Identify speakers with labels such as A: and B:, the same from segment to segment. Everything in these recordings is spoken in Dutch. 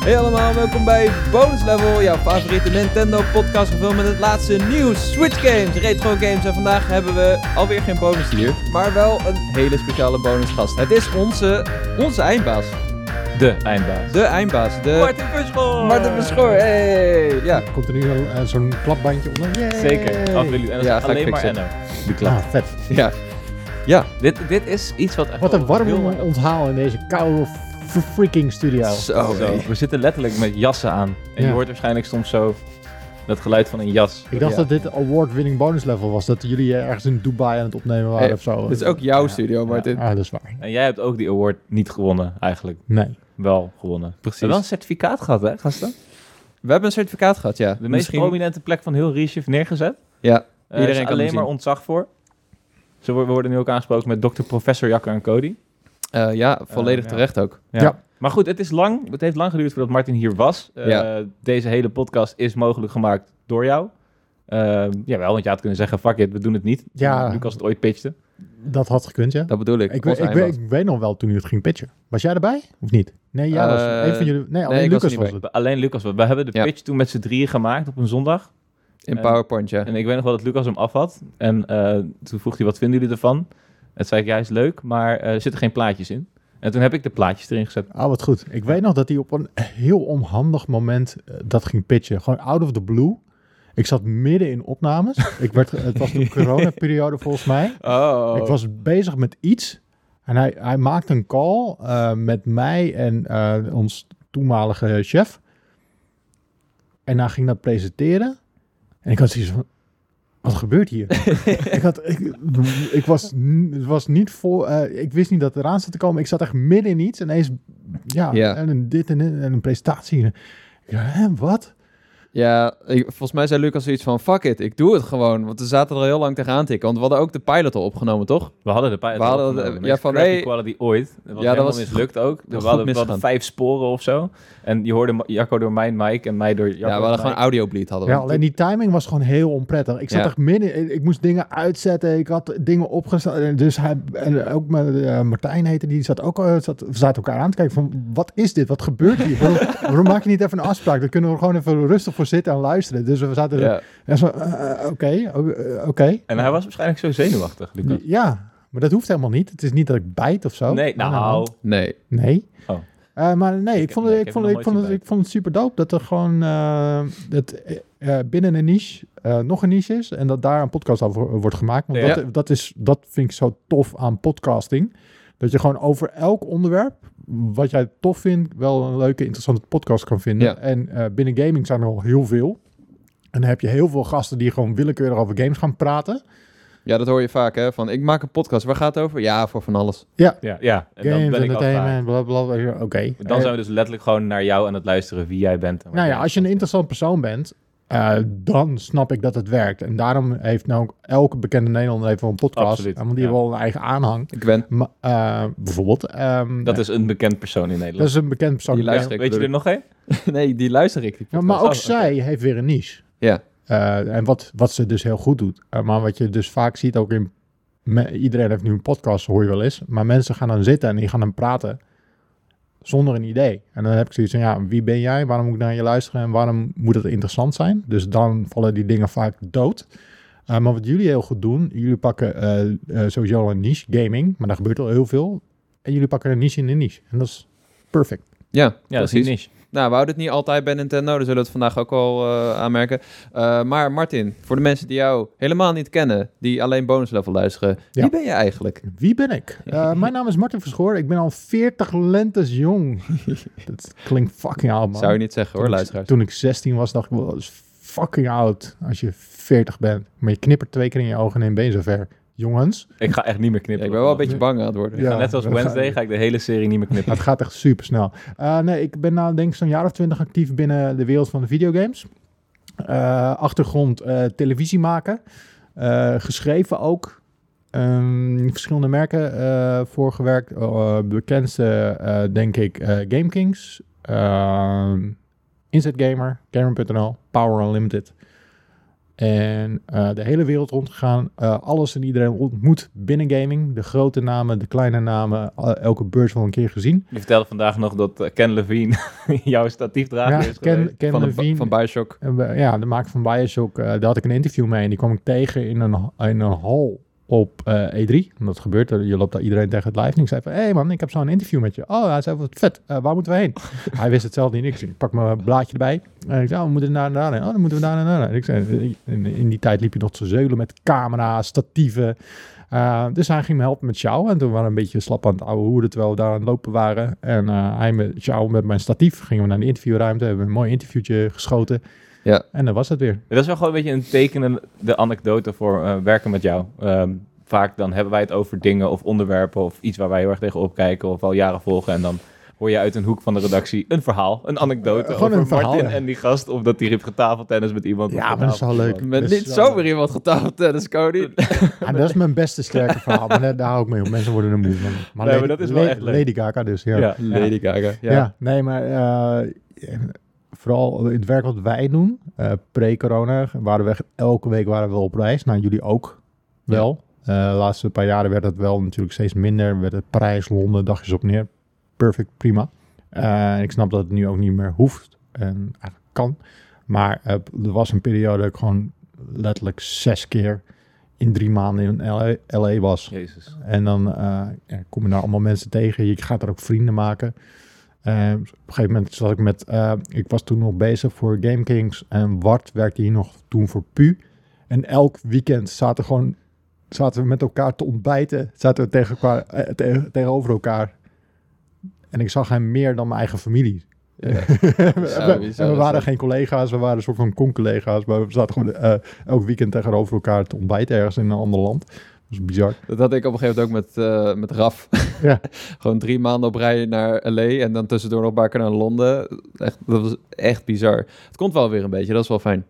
A: Hey allemaal, welkom bij Bonus Level, jouw favoriete Nintendo podcast gevuld met het laatste nieuws. Switch games, retro games en vandaag hebben we alweer geen bonus hier, maar wel een hele speciale bonusgast. Het is onze, onze eindbaas,
B: De eindbaas.
A: de eindbaas, de
B: Martin Buschoor!
A: Martin Verschoor. Hey, ja,
C: Komt er nu wel, eh, zo'n klapbandje onder? Yay!
B: Zeker, absoluut. En dat
A: Ja,
B: is
A: ga ik
B: alleen maar
A: fixen. Ah.
B: Enno.
A: de
C: Ah, vet.
A: Ja, ja,
B: Dit, dit is iets wat echt
C: Wat
B: wel
C: een warm
B: heel erg-
C: onthaal in deze koude f- freaking studio.
A: zo.
B: Zo,
A: hey.
B: we zitten letterlijk met jassen aan. En je
C: Ja.
B: hoort waarschijnlijk soms zo dat geluid van een jas.
C: Ik dacht
A: Ja.
C: dat dit award-winning bonus level was. Dat jullie eh, ergens in Dubai aan het opnemen waren
A: Hey,
C: of zo.
A: Dit Eh, is ook jouw
B: Ja.
A: studio, Martin.
C: Ah, dat is waar.
B: En jij hebt ook die award niet gewonnen, eigenlijk.
C: Nee.
B: Wel gewonnen. We
A: Precies.
B: hebben wel een certificaat gehad, hè, gasten?
A: We hebben een certificaat gehad, ja.
B: De meest prominente plek van heel Riesje neergezet.
A: Ja,
B: Eh,
A: Iedereen kan
B: is
A: hem
B: alleen
A: zien.
B: maar ontzag voor. Zo wo- we worden nu ook aangesproken met dokter, professor Jakker en Cody.
A: eh, ja, volledig
B: ja.
A: terecht ook.
C: Ja.
B: Maar goed, het, is lang, het heeft lang geduurd voordat Martin hier was. Eh,
A: Ja.
B: Deze hele podcast is mogelijk gemaakt door jou. Ehm, Ja, jawel, want je had kunnen zeggen, fuck it, we doen het niet.
C: Ja.
B: Nu als het ooit pitchte.
C: Dat had gekund, ja.
A: Dat bedoel ik.
C: Ik, weet-
A: onze
C: ik,
A: eindbaas.
C: weet, ik weet nog wel toen u het ging pitchen. Was jij erbij? Of niet? Nee, jij was
A: Eh,
C: een van jullie. Nee, alleen
A: ik was er
C: Lucas
A: niet
C: was,
A: bij.
C: het.
B: Alleen Lucas, we we hebben de
A: Ja.
B: pitch toen met z'n drieën gemaakt op een zondag.
A: In
B: Eh,
A: PowerPoint, ja.
B: En ik weet nog wel dat Lucas hem af had. En eh, toen vroeg hij, wat vinden jullie ervan? En toen zei ik, ja, is leuk, maar eh, er zitten geen plaatjes in. En toen heb ik de plaatjes erin gezet.
C: Ah, wat goed. Ik weet nog dat hij op een heel onhandig moment eh, dat ging pitchen. Gewoon out of the blue. Ik zat midden in opnames. Ik werd, het was de coronaperiode volgens mij.
A: Oh.
C: Ik was bezig met iets. En hij, hij maakte een call eh, met mij en eh, ons toenmalige chef. En hij ging dat presenteren. En ik had zoiets van... Wat gebeurt hier? ik, had, ik, ik was, n- het was niet voor... eh, ik wist niet dat het eraan zat te komen. Ik zat echt midden in iets. En ineens... Ja,
A: Ja.
C: en een dit en, dit en een presentatie. Ik dacht, hè, wat?
A: Ja, ik- volgens mij zei Lucas zoiets van, fuck it, ik doe het gewoon. Want we zaten er al heel lang tegenaan tikken. Want we hadden ook de pilot al opgenomen, toch?
B: We hadden de pilot
A: We hadden
B: opgenomen.
A: de-
B: De
A: ja,
B: meest
A: van,
B: crappy
A: hey.
B: quality ooit. Dat was
A: Ja, dat
B: helemaal
A: was
B: mislukt ook.
A: was
B: We
A: goed
B: hadden, we hadden
A: misgegaan.
B: vijf sporen of zo. En je hoorde Ma- Jacco door mijn mic en mij door Jacco.
A: Ja, we
B: door
A: hadden gewoon
B: Mike.
A: audiobleed hadden we.
C: Ja, alleen die timing was gewoon heel onprettig. Ik zat
A: Ja.
C: echt midden, in- ik moest dingen uitzetten, ik had dingen opgesteld. En Dus hij, en ook met, eh, Martijn heette, die zat ook, eh, zat, we zaten elkaar aan te kijken van, wat is dit? Wat gebeurt hier? waarom, waarom maak je niet even een afspraak? Dan kunnen we gewoon even rustig voor zitten en luisteren. Dus we zaten er
A: Ja.
C: en zo, eh, eh, oké, o- eh, oké.
B: En hij was waarschijnlijk zo zenuwachtig, Lucas.
C: Ja, maar dat hoeft helemaal niet. Het is niet dat ik bijt of zo. Ah,
B: nee, nou,
A: Nee.
C: Nee.
B: Oh.
C: Eh, maar nee, ik
B: Ik-
C: vond,
B: nee,
C: het,
B: ik heb
C: ik, vond,
B: nog
C: het- ik, vond
B: nooit
C: het, ik vond het super dope dat er gewoon eh, dat, eh, eh, binnen een niche eh, nog een niche is. En dat daar een podcast over wordt gemaakt. Want
B: Ja.
C: dat, dat, is, dat vind ik zo tof aan podcasting. Dat je gewoon over elk onderwerp wat jij tof vindt, wel een leuke, interessante podcast kan vinden.
A: Ja.
C: En eh, binnen gaming zijn er al heel veel. En dan heb je heel veel gasten die gewoon willekeurig over games gaan praten.
A: Ja, dat hoor je vaak, hè. Van, ik maak een podcast, waar gaat het over? Ja, voor van alles.
B: Ja, ja. En dan
C: Games,
B: ben ik afgehaakt.
C: entertainment, bla bla bla. Oké.
B: Dan
C: Eh,
B: zijn we dus letterlijk gewoon naar jou aan het luisteren wie jij bent. en waar
C: Nou ja,
B: jij
C: als je een
B: bent.
C: interessant persoon bent, eh, dan snap ik dat het werkt. En daarom heeft nou ook elke bekende Nederlander heeft wel een podcast.
B: Absoluut,
C: want die
B: ja.
C: hebben wel een eigen aanhang.
A: Ik ben...
C: Maar, eh, bijvoorbeeld. ehm,
B: Dat is een bekend persoon in
C: dat
B: Nederland.
C: is een bekend persoon.
A: Die
C: Ja,
A: luistert-
B: Weet je er nog een?
A: nee, die luister ik. die
C: Ja,
A: podcast.
C: maar ook
B: Oh, oké.
C: zij heeft weer een niche.
A: Ja.
C: Eh, en wat, wat ze dus heel goed doet. Eh, maar wat je dus vaak ziet ook in... me- iedereen heeft nu een podcast, hoor je wel eens. Maar mensen gaan dan zitten en die gaan dan praten zonder een idee. En dan heb ik zoiets van, ja, wie ben jij? Waarom moet ik naar je luisteren? En waarom moet het interessant zijn? Dus dan vallen die dingen vaak dood. Eh, maar wat jullie heel goed doen, jullie pakken eh, eh, sowieso al een niche, gaming. Maar daar gebeurt al heel veel. En jullie pakken een niche in een niche. En dat is perfect.
A: Ja,
B: Ja, dat is
A: precies.
B: niet niche.
A: Nou, we houden het niet altijd bij Nintendo, dus zullen we het vandaag ook al eh, aanmerken. Eh, maar Martin, voor de mensen die jou helemaal niet kennen, die alleen bonus level luisteren,
C: Ja.
A: wie ben je eigenlijk?
C: Wie ben ik? Eh, mijn naam is Martin Verschoor. Ik ben al 40 lentes jong. dat klinkt fucking oud, man.
A: Zou je niet zeggen hoor,
C: Toen ik-
A: luisteraars.
C: Toen ik 16 was, dacht ik wel, dat is fucking oud als je 40 bent. Maar je knippert twee keer in je ogen en dan ben je zover. Jongens,
B: Ik ga echt niet meer
A: Ja,
B: knippen.
A: ik ben wel een beetje bang aan het worden.
C: Ja.
B: Net als
C: we gaan-
B: Wednesday ga ik de hele serie niet meer knippen.
C: het gaat echt super snel. nee, ik ben nou denk ik zo'n jaar of twintig actief binnen de wereld van de videogames. Eh, achtergrond eh, televisie maken. Eh, geschreven ook. Ehm, verschillende merken eh voor gewerkt. Eh, bekendste eh, denk ik eh GameKings. Ehm Inzet Gamer, Gamer.nl, Power Unlimited. En eh, de hele wereld rondgegaan. eh, alles en iedereen ontmoet binnen gaming. De grote namen, de kleine namen. eh, elke beurs wel een keer gezien.
B: Je vertelde vandaag nog dat eh, Ken Levine jouw statiefdrager
C: Ja,
B: is
C: Ken-
B: geweest.
C: Ken
B: van de-
C: Levine.
A: Van Bioshock.
C: En eh, we- ja, de maker van Bioshock, eh, daar had ik een interview mee. En die kwam ik tegen in een, in een hal op eh, E3. En dat gebeurt, er, je loopt daar iedereen tegen het live. En ik zei van, hé hey man, ik heb zo'n interview met je. Oh, hij zei, wat vet, Eh, waar moeten we heen? hij wist het zelf niet. Ik zei, pak mijn blaadje erbij. En ik zei, oh, we moeten daar en daarheen. Oh, dan moeten we daar en daarheen. En ik zei, eh, in, in die tijd liep je nog te zeulen met camera's, statieven. Eh, dus hij ging me helpen met sjouwen. En toen waren we een beetje slap aan het ouwe hoeren terwijl we daar aan het lopen waren. En eh, hij met sjouwen met mijn statief. Gingen we naar de interviewruimte, hebben we een mooi interviewtje geschoten.
A: Ja.
C: En dan was het weer.
B: Dat is wel gewoon een beetje een tekenende anekdote voor eh, werken met jou. Ehm, vaak dan hebben wij het over dingen of onderwerpen of iets waar wij heel erg tegen opkijken of al jaren volgen. En dan hoor je uit een hoek van de redactie een verhaal, een anekdote
C: Eh, gewoon
B: over
C: een verhaal,
B: Martin
C: ja.
B: en die gast. Of dat die heeft getafeltennis met iemand.
C: Ja,
B: of
C: maar dat is wel
B: getafeltennis.
C: leuk.
A: Met
C: Dus,
A: niet
C: eh,
A: zo weer iemand eh, dus getafeld tennis, Cody.
C: Ja, Ah, dat is mijn beste sterke verhaal. Maar daar, daar hou ik mee op. Mensen worden er moe van. Maar,
B: Nee,
C: Lady-
B: maar dat is wel
C: La-
B: echt leuk.
C: Lady Gaga dus, ja.
B: Ja.
A: Lady Gaga.
C: Ja, nee, maar eh, vooral in het werk wat wij doen, eh, pre-corona, waren we echt, elke week waren we op reis. Nou, jullie ook wel. Eh, de laatste paar jaren werd het wel natuurlijk steeds minder. Werd het Parijs, Londen, dagjes op neer. Perfect, prima. Eh, ik snap dat het nu ook niet meer hoeft en eigenlijk kan. Maar eh, er was een periode dat ik gewoon letterlijk zes keer in drie maanden in LA, LA was.
B: Jezus.
C: En dan eh, ja, kom je daar allemaal mensen tegen. Je gaat er ook vrienden maken. Eh, op een gegeven moment zat ik met... eh, ik was toen nog bezig voor GameKings. En Wart werkte hier nog toen voor Pu. En elk weekend zaten, gewoon, zaten we met elkaar te ontbijten. Zaten we tegen elkaar, eh, te- tegenover elkaar. En ik zag hem meer dan mijn eigen familie. we,
A: bizar is
C: we waren
A: dat.
C: geen collega's, we waren een soort van con-collega's. Maar we zaten gewoon eh, elk weekend tegenover elkaar te ontbijten ergens in een ander land. Dat is bizar.
A: Dat had ik op een gegeven moment ook met, eh, met Raf.
C: Ja.
A: Gewoon drie maanden op rij naar LA en dan tussendoor nog een paar keer naar Londen. Echt, dat was echt bizar. Het komt wel weer een beetje, dat is wel fijn.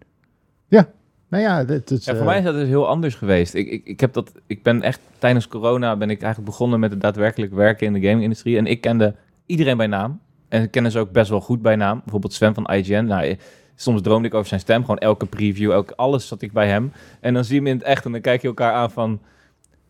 C: Nou ja, dit, dit,
B: Ja, voor
C: eh,
B: mij is dat dus heel anders geweest. Ik, ik, ik, heb dat, ik ben echt tijdens corona ben ik eigenlijk begonnen met het daadwerkelijk werken in de gaming-industrie. En ik kende iedereen bij naam. En ik kende ze ook best wel goed bij naam. Bijvoorbeeld Sven van IGN. Nou, eh, soms droomde ik over zijn stem. Gewoon elke preview, elke, alles zat ik bij hem. En dan zie je hem in het echt en dan kijk je elkaar aan van...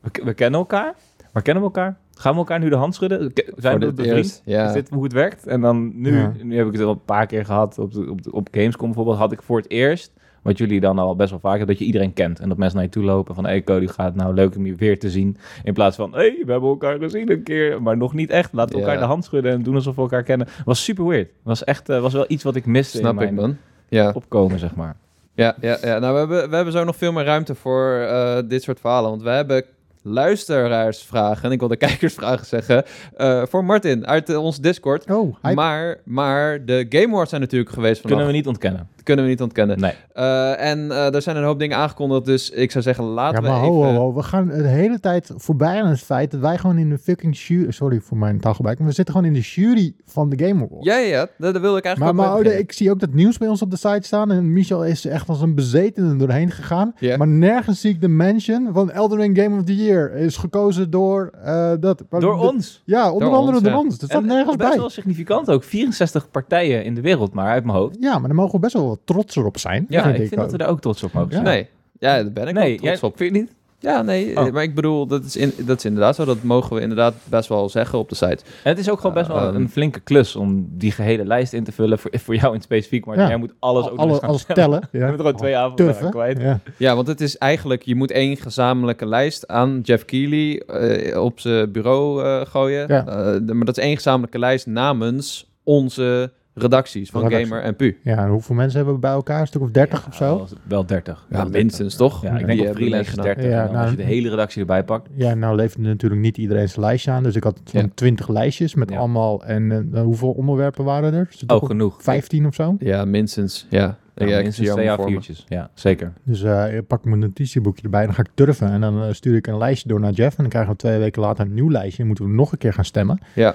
B: We, we kennen elkaar? Waar kennen we elkaar? Gaan we elkaar nu de hand schudden? Ke- Zijn
A: Voor dit
B: we bevriend?
A: eerst, Ja.
B: Is dit hoe het werkt? En dan nu,
C: Ja.
B: nu heb ik het al een paar keer gehad. Op, de, op, de- op Gamescom bijvoorbeeld had ik voor het eerst... wat jullie dan al best wel vaak hebben... dat je iedereen kent. En dat mensen naar je toe lopen van... hé hey Cody, gaat het nou leuk om je weer te zien. In plaats van... hé, hey, we hebben elkaar gezien een keer. Maar nog niet echt. Laten we
A: Ja.
B: elkaar de hand schudden... en doen alsof we elkaar kennen. Was super weird. Was echt eh, was wel iets wat ik miste in
A: Snap ik,
B: mijn
A: man. Ja.
B: opkomen, zeg maar.
A: Ja, ja, ja. nou we hebben, we hebben zo nog veel meer ruimte voor eh, dit soort verhalen. Want we hebben luisteraarsvragen, en ik wilde kijkersvragen zeggen, eh, voor Martin uit eh, ons Discord.
C: Oh, hij...
A: Maar, maar de Game Awards zijn natuurlijk geweest vandaag.
B: Kunnen we niet ontkennen.
A: Dat kunnen we niet ontkennen.
B: Nee.
A: Eh, en eh, er zijn een hoop dingen aangekondigd, dus ik zou zeggen
C: ja,
A: laten
C: maar
A: we even...
C: ho, ho, ho. We gaan de hele tijd voorbij aan het feit dat wij gewoon in de fucking jury... Sorry voor mijn taalgebruik, maar we zitten gewoon in de jury van de Game Awards.
A: Ja, ja, ja, dat, dat wilde ik eigenlijk
C: maar
A: ook
C: maar
A: mee
C: oh,
A: beginnen.
C: ik zie ook dat nieuws bij ons op de site staan. En Michel is echt als een bezetene doorheen gegaan.
A: Ja.
C: Maar nergens zie ik de mention van Elden Ring Game of the Year. Is gekozen door eh, dat. maar
B: Door
C: de-
B: ons.
C: Ja, onder
A: Door
C: andere
A: ons,
C: door
A: ja.
C: ons. Dat staat
B: En eh,
C: nergens
B: best
C: bij.
B: wel significant ook. 64 partijen in de wereld, maar uit mijn hoofd.
C: Ja, maar daar mogen we best wel wat trotser op zijn.
B: Ja, ik
C: ik
B: vind dat
C: ook.
B: we daar ook trots op mogen
C: Ja.
B: zijn.
A: Nee, ja, daar ben ik wel
B: nee,
A: trots
B: jij-
A: op. Vind je niet? Ja, nee,
B: Oh.
A: eh, maar ik bedoel, dat is, in, dat is inderdaad zo. Dat mogen we inderdaad best wel zeggen op de site.
B: En het is ook gewoon best wel
A: Eh,
B: een, een flinke klus om die gehele lijst in te vullen. Voor, voor jou in specifiek, maar
C: Ja.
B: jij moet alles ook nog eens
C: Alles,
B: gaan
C: alles tellen.
B: Je
C: Ja.
B: bent er gewoon twee avonden
C: Tuf, hè?
B: aan kwijt.
C: Ja.
A: Ja, want het is eigenlijk, je moet één gezamenlijke lijst aan Jeff Keighley eh, op zijn bureau eh, gooien.
C: Ja.
A: Eh, de- maar dat is één gezamenlijke lijst namens onze redacties van
C: Redactie.
A: Gamer en Pu.
C: ja, en hoeveel mensen hebben we bij elkaar? Een stuk of dertig of zo?
B: Wel- Wel 30.
A: Ja,
B: Wel 30.
A: minstens toch?
B: Ja, ik
A: Die
B: denk op
A: hebben
B: freelance
A: meegedaan.
B: 30.
C: Ja,
B: en dan
C: nou-
B: als je de hele redactie erbij pakt.
C: Ja, nou leefde natuurlijk niet iedereen zijn lijstje aan. Dus ik had zo'n
A: Ja.
C: twintig lijstjes met
B: Ja.
C: allemaal... En eh, hoeveel onderwerpen waren er? Zit
B: Oh, genoeg.
C: vijftien of zo?
A: Ja, minstens. Ja,
B: Ja,
A: Ja, ik zie
B: minstens
A: jou
B: twee
A: voor me.
B: A4'tjes. Ja, zeker.
C: Dus eh, ik pak mijn notitieboekje erbij en dan ga ik turven. En dan eh, stuur ik een lijstje door naar Jeff. En dan krijgen we twee weken later een nieuw lijstje. En moeten we nog een keer gaan stemmen.
A: Ja.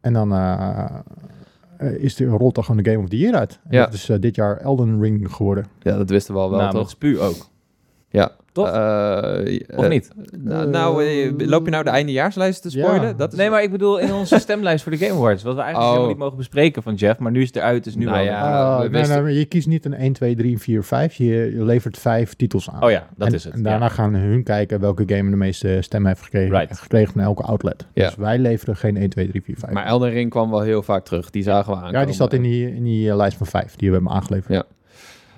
C: En dan eh, eh, is de, rolt er gewoon de Game of the Year uit. En
A: Ja.
C: Dat is eh, dit jaar Elden Ring geworden.
A: Ja, dat wisten we al wel,
B: Namens
A: toch?
B: Spu ook.
A: Ja.
B: Nou, Toch?
A: Eh,
B: Of
A: eh,
B: niet?
A: Nou, nou, eh, loop je nou de eindejaarslijst te
C: Ja.
A: spoilen? Dat is
B: Nee, maar ik bedoel in onze stemlijst voor de Game Awards. Wat we eigenlijk
A: Oh.
B: helemaal niet mogen bespreken van Jeff. Maar nu is het eruit, dus nu
A: Nou
B: wel.
A: ja.
C: Ah,
A: we
C: nee,
A: wisten-
C: nee, maar je kiest niet een 1, 2, 3, 4, 5. Je, je levert vijf titels aan.
B: Oh ja, dat
C: En-
B: is het.
C: En daarna
B: ja.
C: gaan hun kijken welke game de meeste stemmen heeft gekregen,
B: Right.
C: gekregen van elke outlet.
A: Ja.
C: Dus wij leveren geen 1, 2, 3, 4, 5.
A: Maar Elden Ring kwam wel heel vaak terug. Die zagen we aankomen.
C: ja, die zat in die, in die eh, lijst van vijf die we hebben aangeleverd.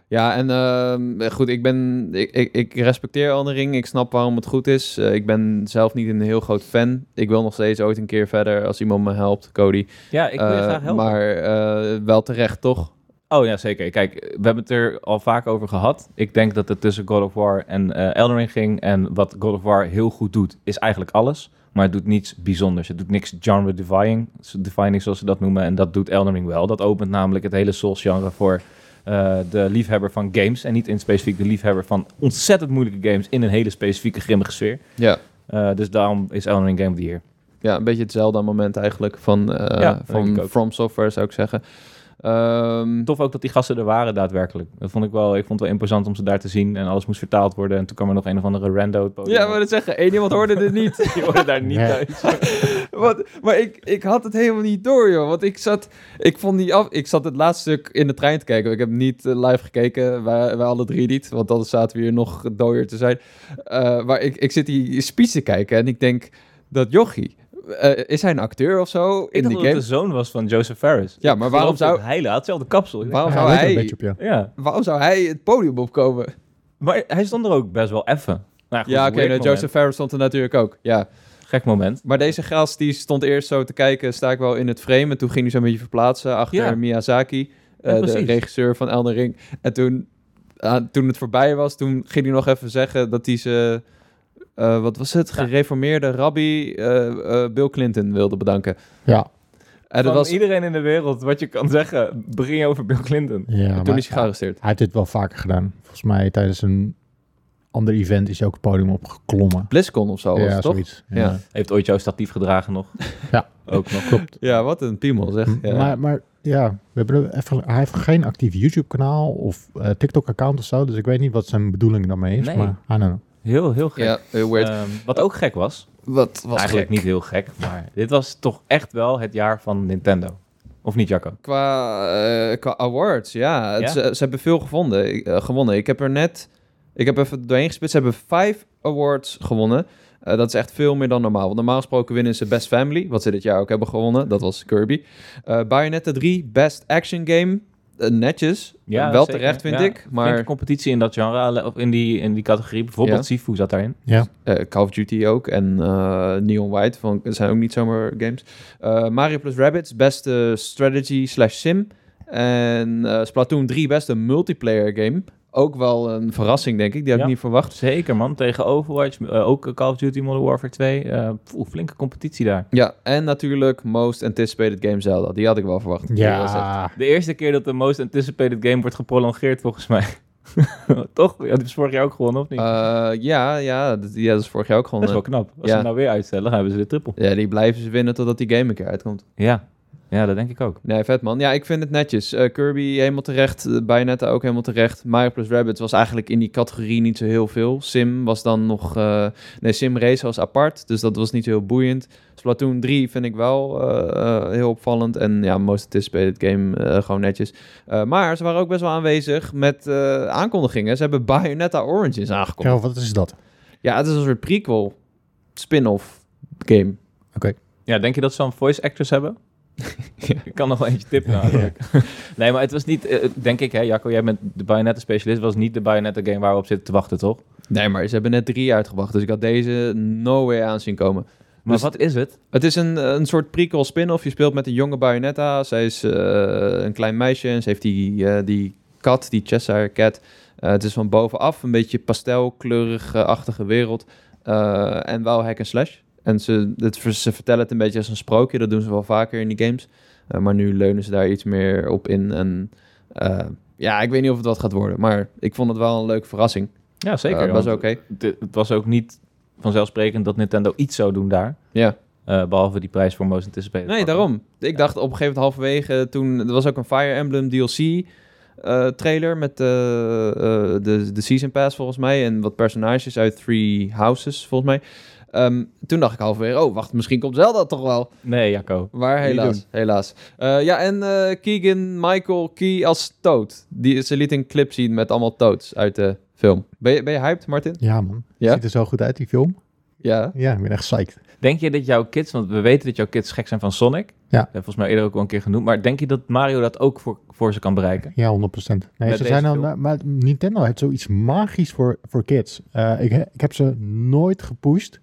A: Ja, en ehm, goed, ik ben... Ik, ik, ik respecteer Elden Ring. Ik snap waarom het goed is. Eh, ik ben zelf niet een heel groot fan. Ik wil nog steeds ooit een keer verder als iemand me helpt, Cody.
B: ja, ik wil je
A: Eh,
B: graag helpen.
A: Maar eh, wel terecht, toch?
B: Oh ja, zeker. Kijk, we hebben het er al vaak over gehad. Ik denk dat het tussen God of War en eh Elden Ring ging. En wat God of War heel goed doet, is eigenlijk alles. Maar het doet niets bijzonders. Het doet niks genre-defining, defining zoals ze dat noemen. En dat doet Elden Ring wel. Dat opent namelijk het hele Souls-genre voor eh, de liefhebber van games. En niet in specifiek de liefhebber van ontzettend moeilijke games in een hele specifieke grimmige sfeer.
A: Ja.
B: Eh, dus daarom is Elden Ring Game of the Year.
A: Ja, een beetje hetzelfde moment eigenlijk van, eh,
B: Ja, denk
A: van
B: ik ook.
A: From Software, zou ik zeggen. Ehm,
B: Tof ook dat die gasten er waren daadwerkelijk. Dat vond ik wel, ik vond het wel imposant om ze daar te zien. En alles moest vertaald worden. En toen kwam er nog een of andere rando op het podium.
A: ja, maar dat zeggen. Eén iemand hoorde dit niet.
B: Die horen daar niet
C: Nee.
B: thuis.
A: Wat, maar ik, ik had het helemaal niet door, joh. Want ik zat, ik vond die af, ik zat het laatste stuk in de trein te kijken. Ik heb niet eh, live gekeken, wij, wij alle drie niet. Want dan zaten we hier nog dooier te zijn. Eh, maar ik, ik zit die speech te kijken en ik denk dat jochie, eh, is hij een acteur of zo
B: Ik
A: in die
B: dacht dat het
A: game?
B: de zoon was van Joseph Ferris.
A: Ja, maar waarom zou,
B: Hij laat hetzelfde kapsel. Ik
A: waarom,
C: Ja,
A: zou
C: hij lijkt er
A: hij,
C: een beetje op je.
B: denk, Ja.
A: waarom zou hij het podium opkomen?
B: Maar hij stond er ook best wel effen. Nou, goed,
A: Ja,
B: een
A: oké,
B: weird
A: nou,
B: moment.
A: Joseph Ferris stond er natuurlijk ook. Ja.
B: Gek moment.
A: Maar deze gast die stond eerst zo te kijken, sta ik wel in het frame. En toen ging hij zo'n beetje verplaatsen achter
B: Ja.
A: Miyazaki, eh,
B: Ja,
A: de
B: precies.
A: regisseur van Elden Ring. En toen, ah, toen het voorbij was, toen ging hij nog even zeggen dat hij ze, eh, wat was het,
B: Ja.
A: gereformeerde rabbi eh, eh, Bill Clinton wilde bedanken.
C: Ja,
A: En dat
B: Van
A: was,
B: iedereen in de wereld, wat je kan zeggen, begin je over Bill Clinton.
C: ja
A: toen
C: maar
A: is hij gearresteerd.
C: hij heeft dit wel vaker gedaan. Volgens mij tijdens een ander event is hij ook het podium opgeklommen.
A: BlizzCon of zo Oh, was
C: ja,
A: het, toch?
C: zoiets.
A: Ja.
B: Heeft ooit jouw statief gedragen nog.
C: Ja.
B: Ook nog.
C: Klopt. Mm.
A: Ja, wat een piemel zeg. Ja.
C: Maar, maar ja, we hebben er even, hij heeft geen actief YouTube-kanaal of eh, TikTok-account of zo. Dus ik weet niet wat zijn bedoeling daarmee is.
B: Nee.
C: Maar I don't know.
B: Heel, heel gek.
A: ja, heel weird.
B: Ehm, wat ook gek was,
A: wat was
B: eigenlijk
A: gek.
B: niet heel gek, maar dit was toch echt wel het jaar van Nintendo. Of niet, Jacco?
A: Qua, eh, qua awards, ja. Het-
B: Ja?
A: Ze, ze hebben veel gevonden, ik- eh, gewonnen. Ik heb er net... Ik heb even doorheen gespitst. Ze hebben vijf awards gewonnen. Eh, dat is echt veel meer dan normaal. Want normaal gesproken winnen ze Best Family, wat ze dit jaar ook hebben gewonnen. Dat was Kirby. Eh Bayonetta 3, Best Action Game. Eh, netjes. Eh, wel
B: zeker.
A: terecht, vind
B: Ja,
A: ik. Maar
B: flinke competitie in dat genre, alle- of in die, in die categorie. Bijvoorbeeld
A: Ja.
B: Sifu zat daarin.
A: eh, Call of Duty ook. En eh, Neon White van, dat zijn ook niet zomaar games. Eh, Mario plus Rabbids, beste strategy slash sim. En eh, Splatoon 3, beste multiplayer game. Ook wel een verrassing, denk ik. Die had ik
B: Ja.
A: niet verwacht.
B: Zeker man, tegen Overwatch, eh, ook Call of Duty Modern Warfare 2. eh, poeh, flinke competitie daar.
A: Ja, en natuurlijk Most Anticipated Game Zelda. Die had ik wel verwacht. Die was echt-
C: Ja,
B: De eerste keer dat de Most Anticipated Game wordt geprolongeerd volgens mij. Toch? Ja, die is vorig jaar ook gewonnen of niet?
A: Eh, ja, ja, dat, ja, dat is vorig jaar ook
B: dat is wel
A: gewoon.
B: knap. Als
A: ja.
B: ze hem nou weer uitstellen, dan hebben ze de triple.
A: Ja, die blijven ze winnen totdat die game een keer uitkomt.
B: Ja. ja, dat denk ik ook.
A: Nee, vet man. Ja, ik vind het netjes. Eh, Kirby helemaal terecht, eh, Bayonetta ook helemaal terecht. Mario plus Rabbids was eigenlijk in die categorie niet zo heel veel. Sim was dan nog... eh, nee, Sim Race was apart, dus dat was niet zo heel boeiend. Splatoon 3 vind ik wel eh, eh, heel opvallend. En ja, Most Anticipated Game eh, gewoon netjes. Eh, maar ze waren ook best wel aanwezig met eh, aankondigingen. Ze hebben Bayonetta Origins aangekondigd.
C: ja, wat is dat?
A: Ja, het is een soort prequel, spin-off game.
B: Ja, denk je dat ze dan voice actors hebben? Ik kan nog wel eentje tippen namelijk. nee, maar het was niet, eh, denk ik hè, Jacco, jij bent de Bayonetta specialist, was niet de Bayonetta game waar we op zitten te wachten, toch?
A: Nee, maar ze hebben net drie uitgebracht, dus ik had deze no way aan zien komen.
B: Maar
A: Dus-
B: wat is het?
A: Het is een, een soort prequel spin-off. Je speelt met een jonge Bayonetta. Zij is eh, een klein meisje en ze heeft die, eh, die kat, die Cheshire Cat. Eh, het is van bovenaf een beetje pastelkleurig-achtige wereld. Eh, en wel hack and slash. En ze, het, ver- ze vertellen het een beetje als een sprookje. Dat doen ze wel vaker in die games. Eh, maar nu leunen ze daar iets meer op in. En eh, ja, ik weet niet of het wat gaat worden. Maar ik vond het wel een leuke verrassing.
B: Ja, zeker.
A: Eh,
B: want-
A: best oké.
B: de- het was ook niet vanzelfsprekend dat Nintendo iets zou doen daar.
A: Ja.
B: Eh, behalve die prijs voor Most Anticipated.
A: Nee, daarom. Ik dacht op een gegeven moment halverwege toen... Er was ook een Fire Emblem DLC. eh, trailer met eh, eh, de, de Season Pass volgens mij. En wat personages uit Three Houses volgens mij. Ehm, toen dacht ik halverwege, oh wacht, misschien komt Zelda toch wel.
B: Nee, Jacco.
A: Waar
C: Niet
A: helaas, helaas. Eh, ja, en eh, Keegan Michael Key als Toad. Die, ze liet een clip zien met allemaal Toads uit de film. Ben je, ben je hyped, Martin?
C: Ja, man.
A: Ja?
C: Ziet er zo goed uit, die film.
A: Ja.
C: Ja, ik ben echt psyched.
B: Denk je dat jouw kids, want we weten dat jouw kids gek zijn van Sonic. Dat hebben we volgens mij eerder ook al een keer genoemd. Maar denk je dat Mario dat ook voor, voor ze kan bereiken?
C: Ja, 100%. Nee,
B: Met
C: ze
B: deze
C: zijn dan,
B: film?
C: maar Nintendo heeft zoiets magisch voor, voor kids. Eh, ik, ik heb ze nooit gepusht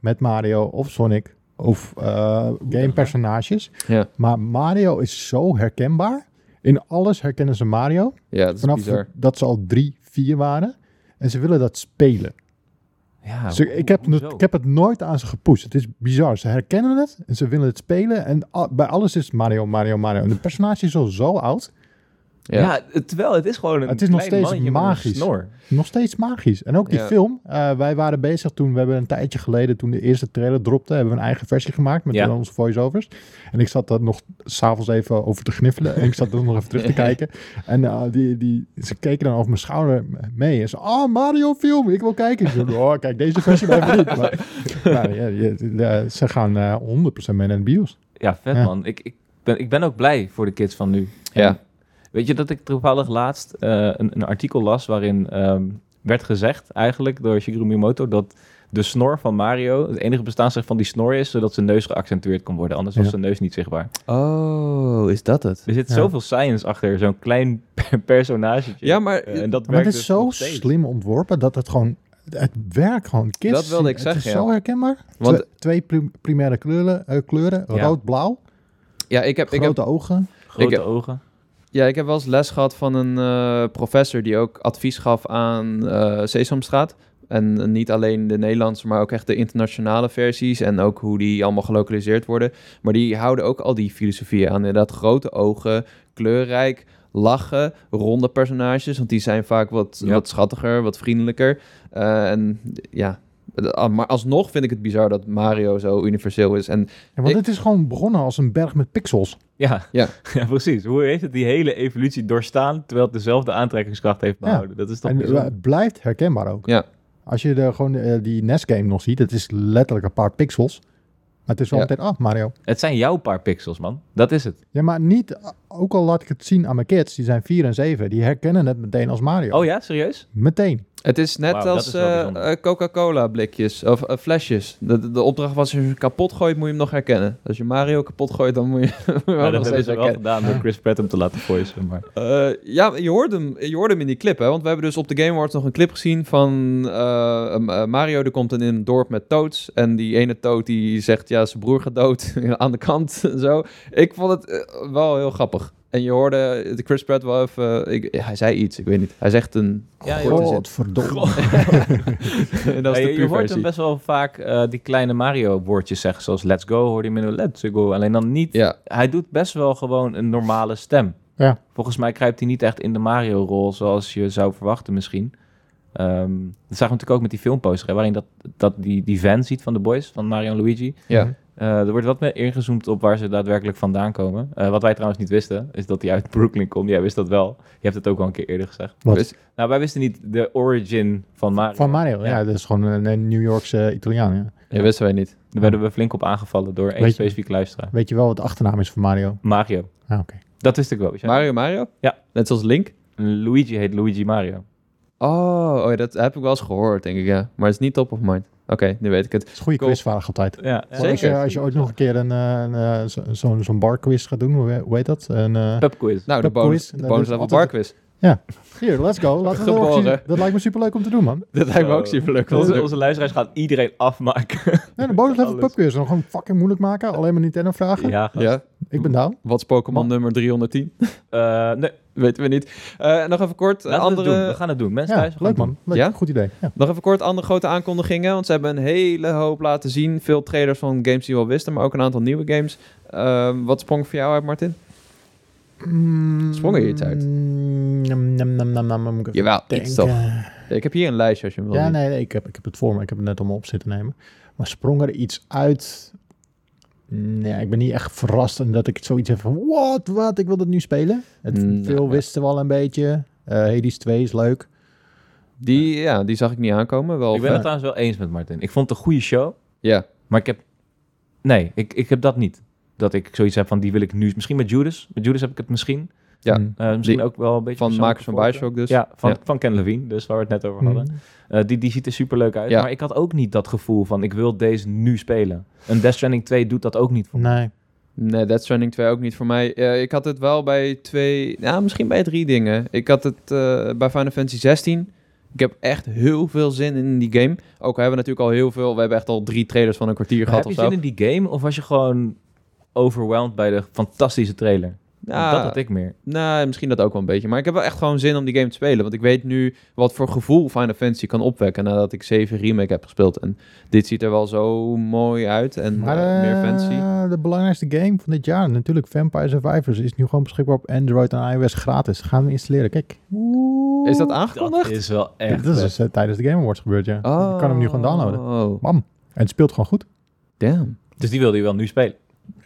C: met Mario of Sonic of eh, gamepersonages.
A: Ja.
C: Maar Mario is zo herkenbaar. In alles herkennen ze Mario.
A: Ja, dat is
C: Vanaf
A: bizar.
C: dat ze al drie, vier waren. En ze willen dat spelen.
B: Ja,
C: Ze- ik, heb het,
B: hoezo?
C: ik heb het nooit aan ze gepusht. Het is bizar. Ze herkennen het en ze willen het spelen. En al- bij alles is het Mario, Mario, Mario. En de personage is al zo oud.
A: Ja.
B: Ja. het- terwijl het is gewoon een
C: Het is nog
B: klein
C: steeds
B: mannetje met een
C: magisch.
B: snor.
C: Nog steeds magisch. En ook die
A: Ja.
C: film. eh, wij waren bezig toen, we hebben een tijdje geleden, toen de eerste trailer dropte, hebben we een eigen versie gemaakt met
B: Ja.
C: onze voiceovers. En ik zat daar nog s'avonds even over te gniffelen. en ik zat er nog even terug te kijken. En eh, die, die, ze keken dan over mijn schouder mee. En ze, oh, Mario film, ik wil kijken. Ik zei, oh, kijk, deze versie blijft niet. Maar, maar ja, je- eh, ze gaan eh, 100% mee naar de bios.
B: Ja, vet
C: Ja.
B: man. Ik, ik, ben, ik ben ook blij voor de kids van nu.
A: Ja.
B: En Weet je dat ik toevallig laatst eh, een, een artikel las waarin ehm, werd gezegd eigenlijk door Shigeru Miyamoto dat de snor van Mario, het enige bestaansrecht van die snor is, zodat zijn neus geaccentueerd kan worden. Anders was
C: Ja.
B: zijn neus niet zichtbaar.
A: Oh, is dat het?
B: Er zit
C: Ja.
B: zoveel science achter zo'n klein personage.
A: Ja, maar
B: en dat
C: Maar
B: werkt
C: het is
B: dus
C: zo
B: nog steeds.
C: slim ontworpen dat het gewoon... Het werkt gewoon. Kids,
A: Dat wilde ik
C: het
A: zeggen,
C: is
A: ja.
C: zo herkenbaar.
A: Want-
C: Twe- twee prim- primaire kleuren, eh, kleuren
B: Ja.
C: rood-blauw,
A: Ja, ik heb, ik heb
C: grote ogen.
B: Grote
A: Ik heb-
B: ogen.
A: Ja, ik heb wel eens les gehad van een eh, professor die ook advies gaf aan eh, Sesamstraat. En eh, niet alleen de Nederlandse, maar ook echt de internationale versies. En ook hoe die allemaal gelokaliseerd worden. Maar die houden ook al die filosofieën aan. Inderdaad, grote ogen, kleurrijk, lachen, ronde personages. Want die zijn vaak wat,
B: Ja.
A: wat schattiger, wat vriendelijker. Eh, en ja, eh, maar alsnog vind ik het bizar dat Mario zo universeel is. En
C: Ja, want
A: Ik-
C: het is gewoon begonnen als een berg met pixels.
B: Ja.
A: Ja.
B: Ja. precies. Hoe heeft het die hele evolutie doorstaan terwijl het dezelfde aantrekkingskracht heeft
C: Ja.
B: behouden? Dat is toch
C: En eh,
B: bijzonder.
C: het blijft herkenbaar ook.
A: Ja.
C: Als je de, gewoon eh, die NES-game nog ziet, het is letterlijk een paar pixels. Maar het is wel
A: Ja.
C: meteen, ah, Mario.
B: Het zijn jouw paar pixels, man. Dat is het.
C: Ja, maar niet, ook al laat ik het zien aan mijn kids, die zijn 4 en 7, die herkennen het meteen als Mario.
B: Oh ja, serieus?
C: Meteen.
A: Het is net
B: Wauw, dat
A: als
B: is wel
A: eh,
B: bijzonder.
A: eh, Coca-Cola blikjes of eh, flesjes. De, de opdracht was, als je ze kapot gooit, moet je hem nog herkennen. Als je Mario kapot gooit, dan moet je hem
B: Nou,
A: nog
B: dat hebben
A: steeds
B: ze wel
A: herkennen.
B: gedaan door Chris Pratt hem te laten voicen. Maar...
A: Eh, ja, je hoorde, hem, je hoorde hem in die clip, hè? Want we hebben dus op de Game Awards nog een clip gezien van eh, een- eh, Mario. Die komt in een dorp met toads. En die ene toad die zegt, ja, zijn broer gaat dood aan de kant en zo. Ik vond het eh, wel heel grappig. En je hoorde eh, de Chris Pratt wel even... ik, hij zei iets, ik weet niet. Hij zegt een...
B: Ja, je
A: korte
B: hoort-
C: Godverdomme.
A: zin. Dat is
B: Ja,
A: de
B: je, je hoort
A: puurversie.
B: hem best wel vaak eh, die kleine Mario-woordjes zeggen. Zoals let's go, hoorde je hem in een let's go. Alleen dan niet...
A: Ja,
B: Hij doet best wel gewoon een normale stem.
C: Ja.
B: Volgens mij kruipt hij niet echt in de Mario-rol zoals je zou verwachten misschien. Ehm, dat zagen we natuurlijk ook met die filmposter. Hè, waarin dat, dat die, die van ziet van de boys, van Mario en Luigi.
A: ja.
B: Eh, er wordt wat meer ingezoomd op waar ze daadwerkelijk vandaan komen. Eh, wat wij trouwens niet wisten, is dat hij uit Brooklyn komt. Jij wist dat wel. Je hebt het ook al een keer eerder gezegd.
C: Wat?
A: Dus-
B: Nou, wij wisten niet de origin van Mario.
C: Van Mario, ja.
B: Ja.
C: dat is gewoon een, een New Yorkse Italiaan. Ja.
A: Ja, wisten wij niet.
B: Daar werden we flink op aangevallen door één
C: Weet je-
B: specifiek luisteraar.
C: Weet je wel wat de achternaam is van Mario?
B: Mario.
C: Ah, oké.
B: Dat wist ik wel. wist jij?
A: Mario Mario?
B: Ja.
A: Net zoals Link?
B: Luigi heet Luigi Mario.
A: Oh, oh ja, dat heb ik wel eens gehoord, denk ik, ja. Maar het is niet top of mind. Oké, nu weet ik het.
C: Het is een goede
A: Cool.
C: quizvraag altijd.
B: Ja,
A: Zeker.
C: Als je, als je ooit nog een keer een, eh, een, eh, zo- zo'n zo'n barquiz gaat doen, hoe, he- hoe heet dat? Een, eh,
B: Pubquiz.
A: Nou, de
C: Pubquiz,
A: bonus, de
C: dat
A: bonus
C: is
A: level
C: altijd-
A: barquiz.
C: Hier, let's go. Laten we dat, ook
A: Geboren.
C: zien. dat lijkt me superleuk om te doen, man.
A: Dat lijkt me ook
B: Zo.
A: super leuk.
B: Onze, onze luisteraars gaan iedereen afmaken.
C: Nee, de bonus level
B: Alles.
C: pubquiz. Dan gewoon fucking moeilijk maken. Alleen maar Nintendo vragen.
B: ja, gast.
A: Ja,
C: Ik ben down.
A: wat is Pokémon nummer 310?
B: Eh, nee,
A: Weten we niet. Eh, en nog even kort, eh,
B: laten we het doen. We
A: andere,
B: gaan het doen. Mensen
C: Ja,
B: thuis, we gaan
C: leuk
B: het
C: man. Leuk.
A: Ja?
C: Goed idee. Ja.
A: nog even kort andere grote aankondigingen, want ze hebben een hele hoop laten zien. Veel trailers van games die we al wisten, maar ook een aantal nieuwe games. Ehm, wat sprong voor jou uit, Martin? Sprong er iets uit?
C: Mm, nam, nam, nam, nam, nam, nam, moet ik even
A: Jawel, iets toch.
C: denken.
A: Ik heb hier een lijstje als je hem wil
C: Ja,
A: zien.
C: nee, nee ik, heb, ik heb het voor me. Ik heb het net allemaal op zitten nemen. Maar sprong er iets uit? Nee, ik ben niet echt verrast en dat ik zoiets heb van... Wat, wat, ik wil dat nu spelen. Het,
A: Mm,
C: veel
A: nou, ja.
C: wisten we al een beetje. Eh Hades 2 is leuk.
A: Die, ja, die zag ik niet aankomen. Wel,
B: Ik ben het
C: Ja.
B: trouwens wel eens met Martin. Ik vond het een goede show,
A: Ja,
B: maar ik heb... Nee, ik, ik heb dat niet. Dat ik zoiets heb van, die wil ik nu... Misschien met Judas. Met Judas heb ik het misschien.
A: Ja.
C: Mm.
B: Eh, misschien
A: Die-
B: ook wel een beetje...
A: van
B: persoonlijke
A: makers van
B: voorkeur.
A: Bioshock dus.
B: Ja, van,
A: Ja.
B: van Ken Levine, dus waar we het net over hadden.
C: Mm.
B: Eh, die, die ziet er super leuk uit.
A: Ja.
B: Maar ik had ook niet dat gevoel van ik wil deze nu spelen. Een Death Stranding 2 doet dat ook niet voor mij.
C: Mm. Nee.
A: Nee, Death Stranding 2 ook niet voor mij. Eh, ik had het wel bij twee, nou misschien bij drie dingen. Ik had het eh, bij Final Fantasy 16. Ik heb echt heel veel zin in die game. Ook we hebben natuurlijk al heel veel. We hebben echt al drie trailers van een kwartier
B: Maar
A: gehad
B: heb
A: of
B: je
A: zo.
B: zin in die game of was je gewoon overwhelmed bij de fantastische trailer?
A: Ja.
B: Dat had ik meer.
A: Nou, misschien dat ook wel een beetje. Maar ik heb wel echt gewoon zin om die game te spelen. Want ik weet nu wat voor gevoel Final Fantasy kan opwekken nadat ik 7 remake heb gespeeld. En dit ziet er wel zo mooi uit en
C: Maar
A: eh, meer
C: eh,
A: fancy.
C: de belangrijkste game van dit jaar, natuurlijk Vampire Survivors, is nu gewoon beschikbaar op Android en iOS gratis. Gaan we installeren. Kijk. Oeh.
A: Is dat aangekondigd?
B: is wel
C: Dat is dus, eh, tijdens de Game Awards gebeurd, ja. Je kan hem nu gewoon downloaden.
A: Oh,
C: En het speelt gewoon goed.
A: damn.
B: Dus die wilde je wel nu spelen.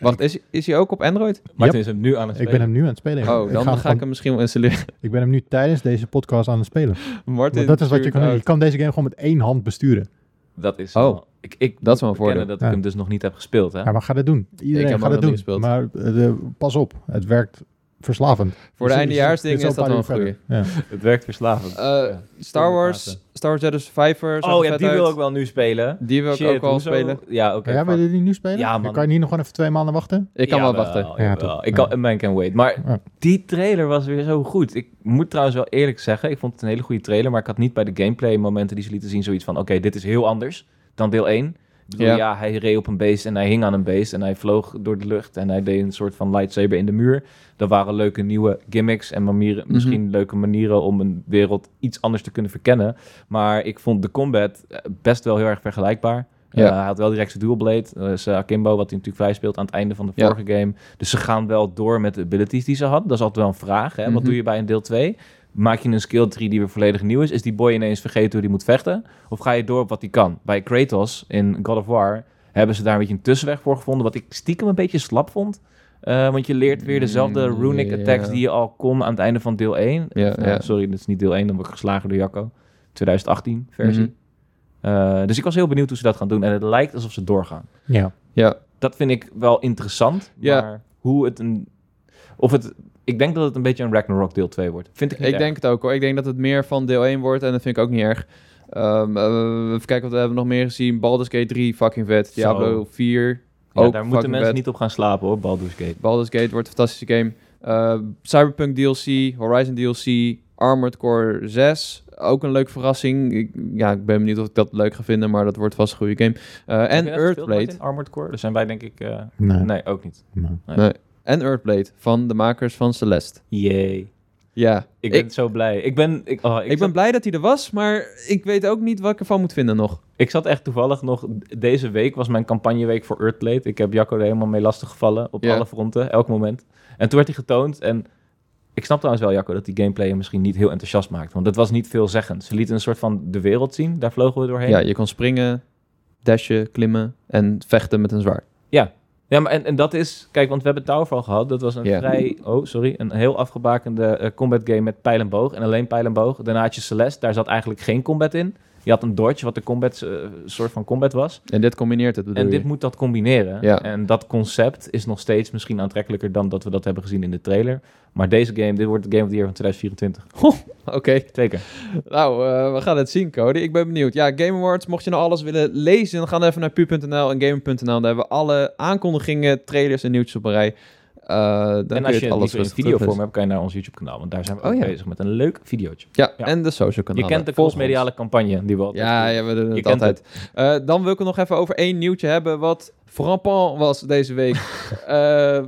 A: Wacht, is, is hij ook op Android?
B: Martin is hem nu aan het
C: Ik
B: spelen.
C: ben hem nu aan het spelen.
A: Oh, dan
C: ga
A: ga,
C: hem gewoon-
A: ik hem misschien wel installeren.
C: ik ben hem nu tijdens deze podcast aan het spelen.
A: Martin, oh,
C: Want dat is wat je
A: stuurt
C: kan doen. Je
A: uit.
C: kan deze game gewoon met één hand besturen.
B: Dat is
A: Oh.
B: wel- Ik, ik
A: Dat is wel een
B: moet bekennen
A: voordeel.
B: dat
C: Ja.
B: ik hem dus nog niet heb gespeeld. Hè?
C: Ja, maar ga dat doen. Iedereen
A: heb
C: gaat
A: hem
C: dat
A: ook
C: doen.
A: nog niet
C: Maar eh, de- pas op, het werkt verslavend. Dus
A: Voor de eindejaarsdingen is dat wel een goeie.
C: goed. Ja.
B: Het werkt verslavend.
A: Eh, Star Wars,
B: Inderdaad.
A: Star Wars Jedi Survivor. zag
B: oh
A: er
B: ja,
A: vet
B: die
A: uit.
B: wil ik wel nu spelen.
A: Die wil ik
B: Shit,
A: ook wel
B: hoezo?
A: spelen.
B: Ja, oké.
C: Maar jij
B: fuck.
C: wil je die nu spelen?
B: Ja, man.
C: Dan kan je hier nog gewoon even twee maanden wachten.
A: Ik kan wel
B: Jawel,
A: wachten.
B: jawel.
C: Ja, toch?
B: Ik kan, man can wait. Maar
C: Ja.
B: die trailer was weer zo goed. Ik moet trouwens wel eerlijk zeggen, ik vond het een hele goede trailer, maar ik had niet bij de gameplay momenten die ze lieten zien zoiets van, oké, dit is heel anders dan deel 1. Ik bedoel,
A: Ja.
B: ja. hij reed op een beest en hij hing aan een beest en hij vloog door de lucht en hij deed een soort van lightsaber in de muur. Dat waren leuke nieuwe gimmicks en manieren,
A: Mhm.
B: misschien leuke manieren om een wereld iets anders te kunnen verkennen. Maar ik vond de combat eh, best wel heel erg vergelijkbaar.
A: Ja.
B: Eh, hij had wel direct zijn dual blade, eh, zijn akimbo, wat hij natuurlijk vrij speelt aan het einde van de
A: Ja.
B: vorige game. Dus ze gaan wel door met de abilities die ze hadden. Dat is altijd wel een vraag. Hè?
A: Mhm.
B: Wat doe je bij een deel 2? Maak je een skill tree die weer volledig nieuw is? Is die boy ineens vergeten hoe die moet vechten? Of ga je door op wat hij kan? Bij Kratos in God of War hebben ze daar een beetje een tussenweg voor gevonden. Wat ik stiekem een beetje slap vond. Eh, want je leert weer dezelfde
A: Mm,
B: runic
A: ja.
B: attacks die je al kon aan het einde van deel 1.
A: Ja,
B: Of, nou,
A: ja.
B: Sorry, dat is niet deel 1, dan word ik geslagen door Jacco. 2018 versie.
A: Mhm.
B: Eh, dus ik was heel benieuwd hoe ze dat gaan doen. En het lijkt alsof ze doorgaan
C: Ja.
A: Ja,
B: dat vind ik wel interessant.
A: Ja.
B: Maar hoe het een. Of het. Ik denk dat het een beetje een Ragnarok deel 2 wordt. Vind ik niet.
A: ik
B: erg.
A: denk het ook hoor. Ik denk dat het meer van deel 1 wordt en dat vind ik ook niet erg. Ehm, eh, even kijken wat we hebben nog meer gezien. Baldur's Gate 3, fucking vet. Diablo 4,
B: Ja,
A: ook
B: daar moeten
A: fucking
B: mensen
A: vet.
B: niet op gaan slapen hoor, Baldur's Gate.
A: Baldur's Gate wordt een fantastische game. Eh, Cyberpunk DLC, Horizon DLC, Armored Core 6. Ook een leuke verrassing. Ik, ja, ik ben benieuwd of ik dat leuk ga vinden, maar dat wordt vast een goede game. Eh,
B: Heb
A: en
B: je dat gespeeld,
A: Earthblade.
B: Martin? Armored Core. Daar zijn wij denk ik. eh,
C: Nee.
B: Nee, ook niet.
C: Maar-
A: En Earthblade van de makers van Celeste.
B: Jee.
A: Ja,
B: Ik ben
A: ik,
B: zo blij. Ik ben. Ik, oh, ik,
A: ik ben
B: zat,
A: blij dat hij er was, maar ik weet ook niet wat ik ervan moet vinden nog.
B: ik zat echt toevallig nog. Deze week was mijn campagneweek voor Earthblade. Ik heb Jacco er helemaal mee lastiggevallen. Op
A: Ja.
B: alle fronten, elk moment. En toen werd hij getoond. En ik snap trouwens wel, Jacco, dat die gameplay hem misschien niet heel enthousiast maakt. Want dat was niet veelzeggend. Ze lieten een soort van de wereld zien. Daar vlogen we doorheen.
A: Ja, je kon springen, dashen, klimmen en vechten met een zwaard.
B: Ja, maar en, en dat is... Kijk, want we hebben Towerfall gehad. Dat was een
A: Ja.
B: vrij... Oh, sorry. Een heel afgebakende eh, combat game met pijl en boog. En alleen pijl en boog. Daarna had je Celeste. Daar zat eigenlijk geen combat in. Je had een dodge, wat de combat, eh, soort van combat was.
A: En dit combineert het, bedoel
B: en dit
A: je?
B: moet dat combineren.
A: Ja.
B: En dat concept is nog steeds misschien aantrekkelijker... dan dat we dat hebben gezien in de trailer. Maar deze game, dit wordt de Game of the Year van 2024.
A: Oké,
B: Zeker.
A: nou, eh, we gaan het zien, Cody. Ik ben benieuwd. Ja, Game Awards, mocht je nou alles willen lezen, dan ga dan even naar pu.nl en gamer.nl. Daar hebben we alle aankondigingen, trailers en nieuwtjes op een rij. Eh, dan
B: en
A: kun je
B: als je
A: het
B: het
A: alles
B: liever in
A: rustig
B: videovorm
A: teruglezen.
B: hebt... kan je naar ons YouTube-kanaal. Want daar zijn we
A: Oh,
B: ook
A: ja.
B: bezig met een leuk videootje.
A: Ja,
B: Ja.
A: en de social
B: Je
A: kanalen.
B: kent de
A: Volg
B: crossmediale campagne die we
A: ons.
B: altijd
A: Ja,
B: doen.
A: ja, we doen
B: Je
A: het
B: kent
A: altijd. Eh, dan wil ik het nog even over één nieuwtje hebben wat frappant was deze week. Eh, eh,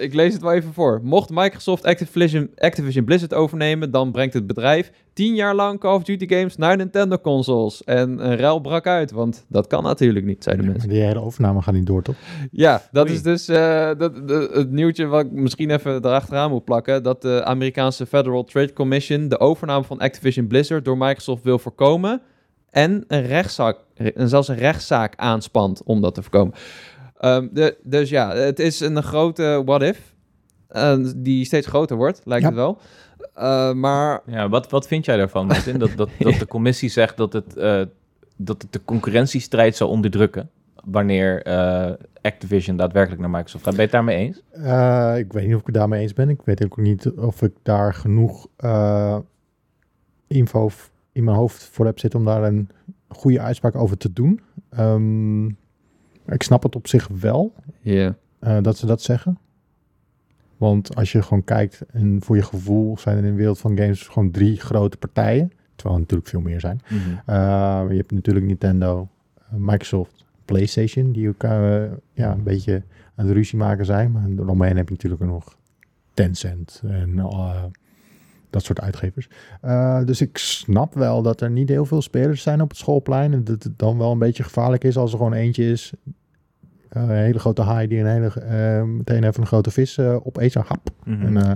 A: ik lees het wel even voor. Mocht Microsoft Activision, Activision Blizzard overnemen, dan brengt het bedrijf 10 jaar lang Call of Duty games naar Nintendo consoles. En een ruil brak uit, want dat kan natuurlijk niet, zeiden
C: Ja,
A: mensen.
C: maar die hele overname gaat niet door, toch?
A: Ja, dat
B: Oei.
A: is dus eh, dat, de- het nieuwtje wat ik misschien even erachteraan moet plakken. Dat de Amerikaanse Federal Trade Commission de overname van Activision Blizzard door Microsoft wil voorkomen. En een rechtszaak, en zelfs een rechtszaak aanspant om dat te voorkomen. Eh, Ehm, de, dus ja, het is een grote what-if. die steeds groter wordt, lijkt
C: Ja.
A: het wel. Eh, maar
B: Ja, wat, wat vind jij daarvan, Martin? Dat, dat, dat de commissie zegt dat het, eh, dat het de concurrentiestrijd zou onderdrukken... wanneer eh, Activision daadwerkelijk naar Microsoft gaat. Ben je het daarmee eens?
C: Eh, ik weet niet of ik het daarmee eens ben. Ik weet ook niet of ik daar genoeg eh, info v- in mijn hoofd voor heb zitten om daar een goede uitspraak over te doen. Ehm, ik snap het op zich wel eh, dat ze dat zeggen. Want als je gewoon kijkt en voor je gevoel zijn er in de wereld van games gewoon drie grote partijen. Terwijl er natuurlijk veel meer zijn.
A: Mhm.
B: Mhm.
C: Eh, je hebt natuurlijk Nintendo, eh, Microsoft, PlayStation, die elkaar eh, ja, een beetje aan de ruzie maken zijn. Maar eromheen heb je natuurlijk ook nog Tencent en eh, dat soort uitgevers. Eh, dus ik snap wel dat er niet heel veel spelers zijn op het schoolplein. En dat het dan wel een beetje gevaarlijk is als er gewoon eentje is. eh, een hele grote haai die een hele, eh, meteen even een grote vis eh, opeet. Zo hap.
B: Mhm.
A: Mm-hmm.
C: En, eh,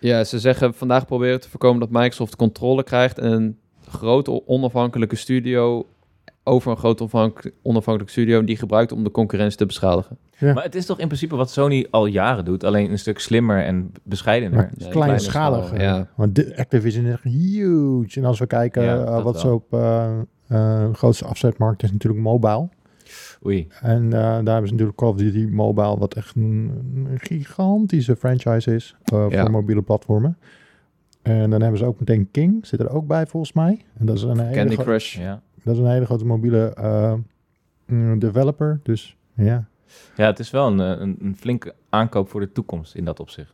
A: Ja, ze zeggen vandaag proberen te voorkomen dat Microsoft controle krijgt en een grote onafhankelijke studio over een grote onafhank- onafhankelijke studio die gebruikt om de concurrentie te beschadigen.
C: Ja.
B: Maar het is toch in principe wat Sony al jaren doet, alleen een stuk slimmer en bescheidener.
C: Maar
B: Ja,
C: kleinschaliger.
B: schaal,
A: Ja.
C: Want de Activision is echt huge. En als we kijken
B: Ja,
C: eh,
B: dat wel.
C: wat ze op eh, eh, grootste afzetmarkt is natuurlijk mobile.
B: Oei.
C: En eh, daar hebben ze natuurlijk Call of Duty Mobile, wat echt een, een gigantische franchise is eh,
A: Ja.
C: voor mobiele platformen. En dan hebben ze ook meteen King, zit er ook bij volgens mij. En dat is een hele,
A: Candy
C: gro-
A: Crush.
B: Ja.
C: dat is een hele grote mobiele eh, mm, developer. Dus ja.
B: ja, het is wel een, eh, een, een flinke aankoop voor de toekomst in dat opzicht.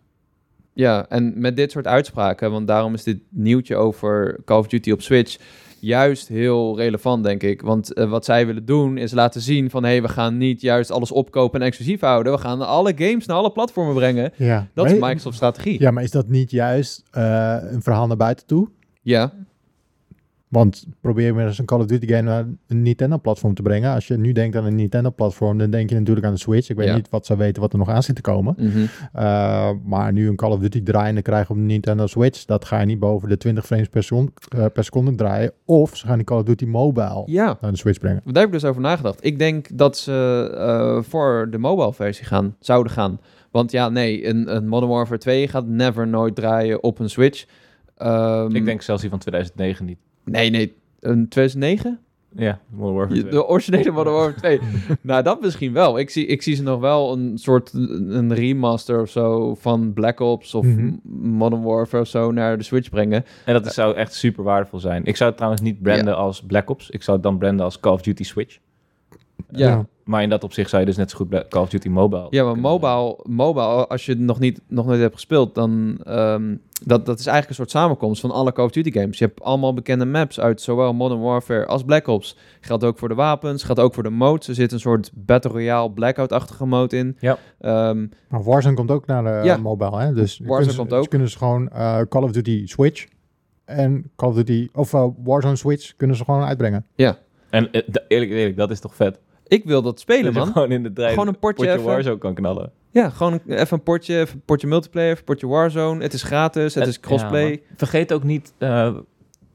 A: Ja, en met dit soort uitspraken, want daarom is dit nieuwtje over Call of Duty op Switch juist heel relevant, denk ik. Want eh, wat zij willen doen is laten zien van, hé, hey, we gaan niet juist alles opkopen en exclusief houden. We gaan alle games naar alle platformen brengen.
C: ja.
A: Dat is Microsoft's strategie.
C: Ja, maar is dat niet juist eh, een verhaal naar buiten toe?
A: ja.
C: Want probeer maar eens een Call of Duty game naar een Nintendo-platform te brengen. Als je nu denkt aan een Nintendo-platform, dan denk je natuurlijk aan de Switch. Ik weet
A: Ja.
C: niet wat ze weten wat er nog aan zit te komen.
A: Mhm.
C: Eh, maar nu een Call of Duty draaiende krijgen op de Nintendo Switch, dat ga je niet boven de 20 frames per, seconde- eh, per seconde draaien. Of ze gaan die Call of Duty Mobile
A: Ja.
C: naar de Switch brengen.
A: Daar heb ik dus over nagedacht. Ik denk dat ze eh, voor de mobile versie gaan, zouden gaan. Want ja, nee, een, een Modern Warfare 2 gaat never nooit draaien op een Switch. Ehm,
B: Ik denk zelfs die van 2009 niet.
A: Nee, nee, een 2009?
B: Ja, Modern Warfare
A: Je- De originele Modern Warfare 2. nou, dat misschien wel. Ik zie, ik zie ze nog wel een soort een een remaster of zo van Black Ops of
C: Mhm.
A: Modern Warfare of zo naar de Switch brengen.
B: 2. En dat zou echt super waardevol zijn. Ik zou het trouwens niet branden als Black Ops. Ik zou het dan branden als Call of Duty Switch.
A: Ja, ja.
B: Maar in dat opzicht zou je dus net zo goed Bla- Call of Duty Mobile...
A: maar
B: kunnen
A: mobile, mobile, als je het nog, niet, nog nooit hebt gespeeld, dan ehm, dat, dat is eigenlijk een soort samenkomst van alle Call of Duty games. Je hebt allemaal bekende maps uit zowel Modern Warfare als Black Ops. Geldt ook voor de wapens, geldt ook voor de modes. Er zit een soort Battle Royale Blackout-achtige mode in.
B: Ja.
A: Ehm,
C: Maar Nou, Warzone komt ook naar de
A: Ja.
C: mobile, hè? Dus
A: Warzone
C: kunnen ze-
A: komt
C: dus
A: ook.
C: kunnen ze gewoon eh, Call of Duty Switch en Call of Duty, of eh, Warzone Switch kunnen ze gewoon uitbrengen.
B: zijn. En eh, d- eerlijk, eerlijk, dat is toch vet.
A: ik wil dat spelen,
B: Dat je
A: man.
B: gewoon in de drijf...
A: Gewoon een potje even.
B: Warzone kan knallen.
A: Ja, gewoon een- even een potje, even een potje multiplayer, even een potje Warzone. Het is gratis, het,
B: Het-
A: is crossplay.
B: ja, maar vergeet ook niet eh,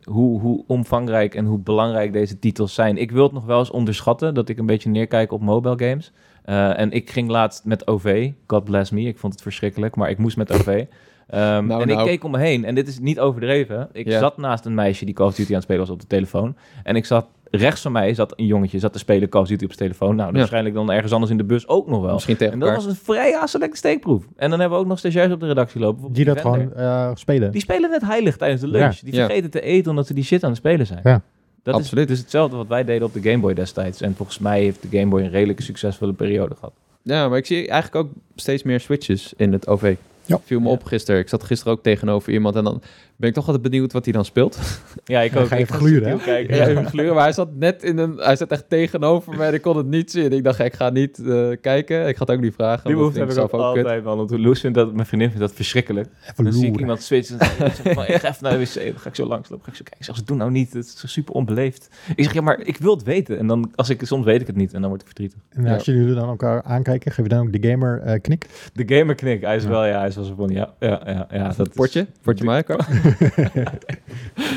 B: hoe, hoe omvangrijk en hoe belangrijk deze titels zijn. Ik wil het nog wel eens onderschatten dat ik een beetje neerkijk op mobile games. Eh, en ik ging laatst met OV. God bless me, ik vond het verschrikkelijk, maar ik moest met OV. Ehm,
A: Nou,
B: en
A: nou.
B: ik keek om me heen en dit is niet overdreven. Ik
A: Ja.
B: zat naast een meisje die Call of Duty aan het spelen was op de telefoon. En ik zat rechts van mij zat een jongetje zat te spelen Call of Duty op zijn telefoon. Nou,
A: Ja.
B: waarschijnlijk dan ergens anders in de bus ook nog wel.
A: Misschien tegen
B: En dat
A: elkaar.
B: was een vrij aanstellende steekproef. En dan hebben we ook nog stagiairs op de redactie lopen.
C: Die dat
B: Vender.
C: gewoon eh, spelen.
B: Die spelen net heilig tijdens de lunch. Die
A: Ja.
B: vergeten te eten omdat ze die shit aan het spelen zijn.
C: Ja.
B: Dat
A: Absoluut.
B: is dus hetzelfde wat wij deden op de Game Boy destijds. En volgens mij heeft de Game Boy een redelijke succesvolle periode gehad.
A: Ja, maar ik zie eigenlijk ook steeds meer switches in het OV.
C: Ja.
A: Viel me
B: Ja.
A: op gisteren. Ik zat gisteren ook tegenover iemand en dan ben ik toch altijd benieuwd wat hij dan speelt.
B: Ja, ik
C: Dan
B: ook.
C: ga je
B: Ik
C: even gluren, hè?
B: subtiel kijken.
A: Ja. Even gluren, maar hij zat net in een... Hij zat echt tegenover me en ik kon het niet zien. Ik dacht, ik ga niet eh, kijken. Ik ga het ook niet vragen.
B: Die
A: want
B: behoefte heb ik
A: vind
B: ook altijd, man. Want Loes vindt dat, mijn vriendin vindt dat verschrikkelijk.
C: Even
B: Dan zie ik
C: loeren.
B: iemand switchen. en dan zeg ik van, ik ga even naar de wc. Dan ga ik zo langs lopen. Ga ik zo kijken. Ik zeg, ze doen nou niet. Het is zo super onbeleefd. Ik zeg, ja, maar ik wil het weten. En dan, als ik, soms weet ik het niet. En dan word ik verdrietig.
C: En
A: Ja.
C: als jullie dan elkaar aankijken, geef je dan ook de gamer eh, knik.
B: De gamer knik. Hij is
C: Ja.
B: wel, ja, hij is was er van, ja. ja, ja, ja dat is-
A: potje, potje Marco.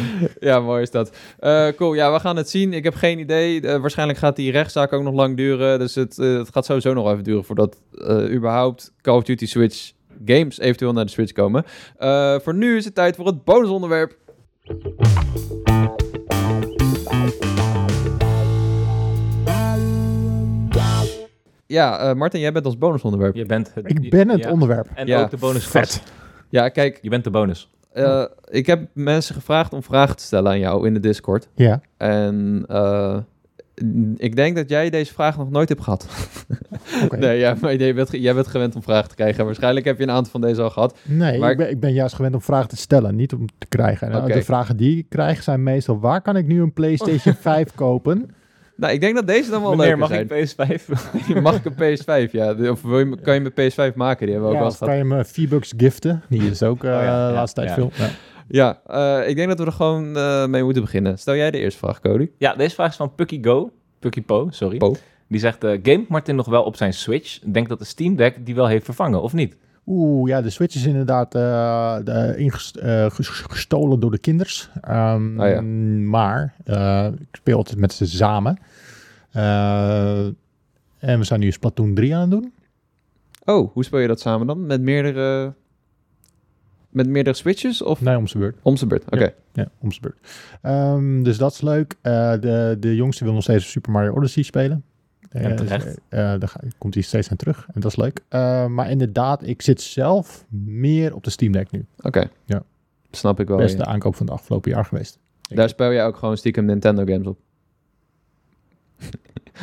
A: ja, mooi is dat. Eh, cool, ja, we gaan het zien. Ik heb geen idee. Eh, waarschijnlijk gaat die rechtszaak ook nog lang duren. Dus het, eh, het gaat sowieso nog even duren voordat eh, überhaupt Call of Duty Switch games eventueel naar de Switch komen. Eh, voor nu is het tijd voor het bonusonderwerp. Ja, eh, Martin, jij bent ons bonusonderwerp.
B: Je bent het,
C: Ik ben het
B: ja.
C: onderwerp.
B: En
A: Ja.
B: ook de bonus
A: Ja, kijk,
B: Je bent de bonus.
A: eh, ik heb mensen gevraagd om vragen te stellen aan jou in de Discord.
C: Ja.
A: En eh, n- ik denk dat jij deze vraag nog nooit hebt gehad.
C: Oké.
A: Nee, ja, maar jij bent, ge- jij bent gewend om vragen te krijgen. Waarschijnlijk heb je een aantal van deze al gehad.
C: Nee,
A: Maar-
C: ik, ben, ik ben juist gewend om vragen te stellen, niet om te krijgen. En, uh,
A: Oké.
C: De vragen die ik krijg zijn meestal: waar kan ik nu een PlayStation 5 kopen?
A: Nou, ik denk dat deze dan wel
B: Meneer,
A: leuk
B: mag
A: zijn.
B: ik PS5?
A: mag ik een PS5? Ja, De- of wil je, me- kan je me PS5 maken? Die hebben we ook al
C: Ja, of
A: eens gehad.
C: kan je me V-Bucks giften? Die is ook eh
B: Oh ja, ja,
C: laatste tijd
B: ja.
C: veel. Ja.
A: Ja, eh, ik denk dat we er gewoon eh, mee moeten beginnen. Stel jij de eerste vraag, Cody.
B: Ja, deze vraag is van Pucky Go. Pucky Po, sorry.
A: Po.
B: Die zegt, eh game Martin nog wel op zijn Switch? Denk dat de Steam Deck die wel heeft vervangen, of niet?
C: Oeh, ja, de Switch is inderdaad eh, de- ingest- eh, ges- gestolen door de kinders. Ehm,
A: Ah, ja.
C: Maar eh, ik speel het met ze samen. Eh, en we zijn nu Splatoon 3 aan het doen.
A: Oh, hoe speel je dat samen dan? Met meerdere, met meerdere switches of
C: Nee, om zijn beurt.
A: om zijn beurt? Oké.
C: Ja, om zijn beurt. Ehm, dus dat is leuk. Eh, de, de jongste wil nog steeds Super Mario Odyssey spelen.
B: En
C: Eh,
B: terecht.
C: dus, eh, eh, daar ga- komt hij steeds aan terug. En dat is leuk. Eh, maar inderdaad, ik zit zelf meer op de Steam Deck nu.
A: Oké.
C: Ja.
A: Snap ik wel.
C: Beste
A: Oh, ja.
C: aankoop van het afgelopen jaar geweest.
A: Daar speel jij ook gewoon stiekem Nintendo games op.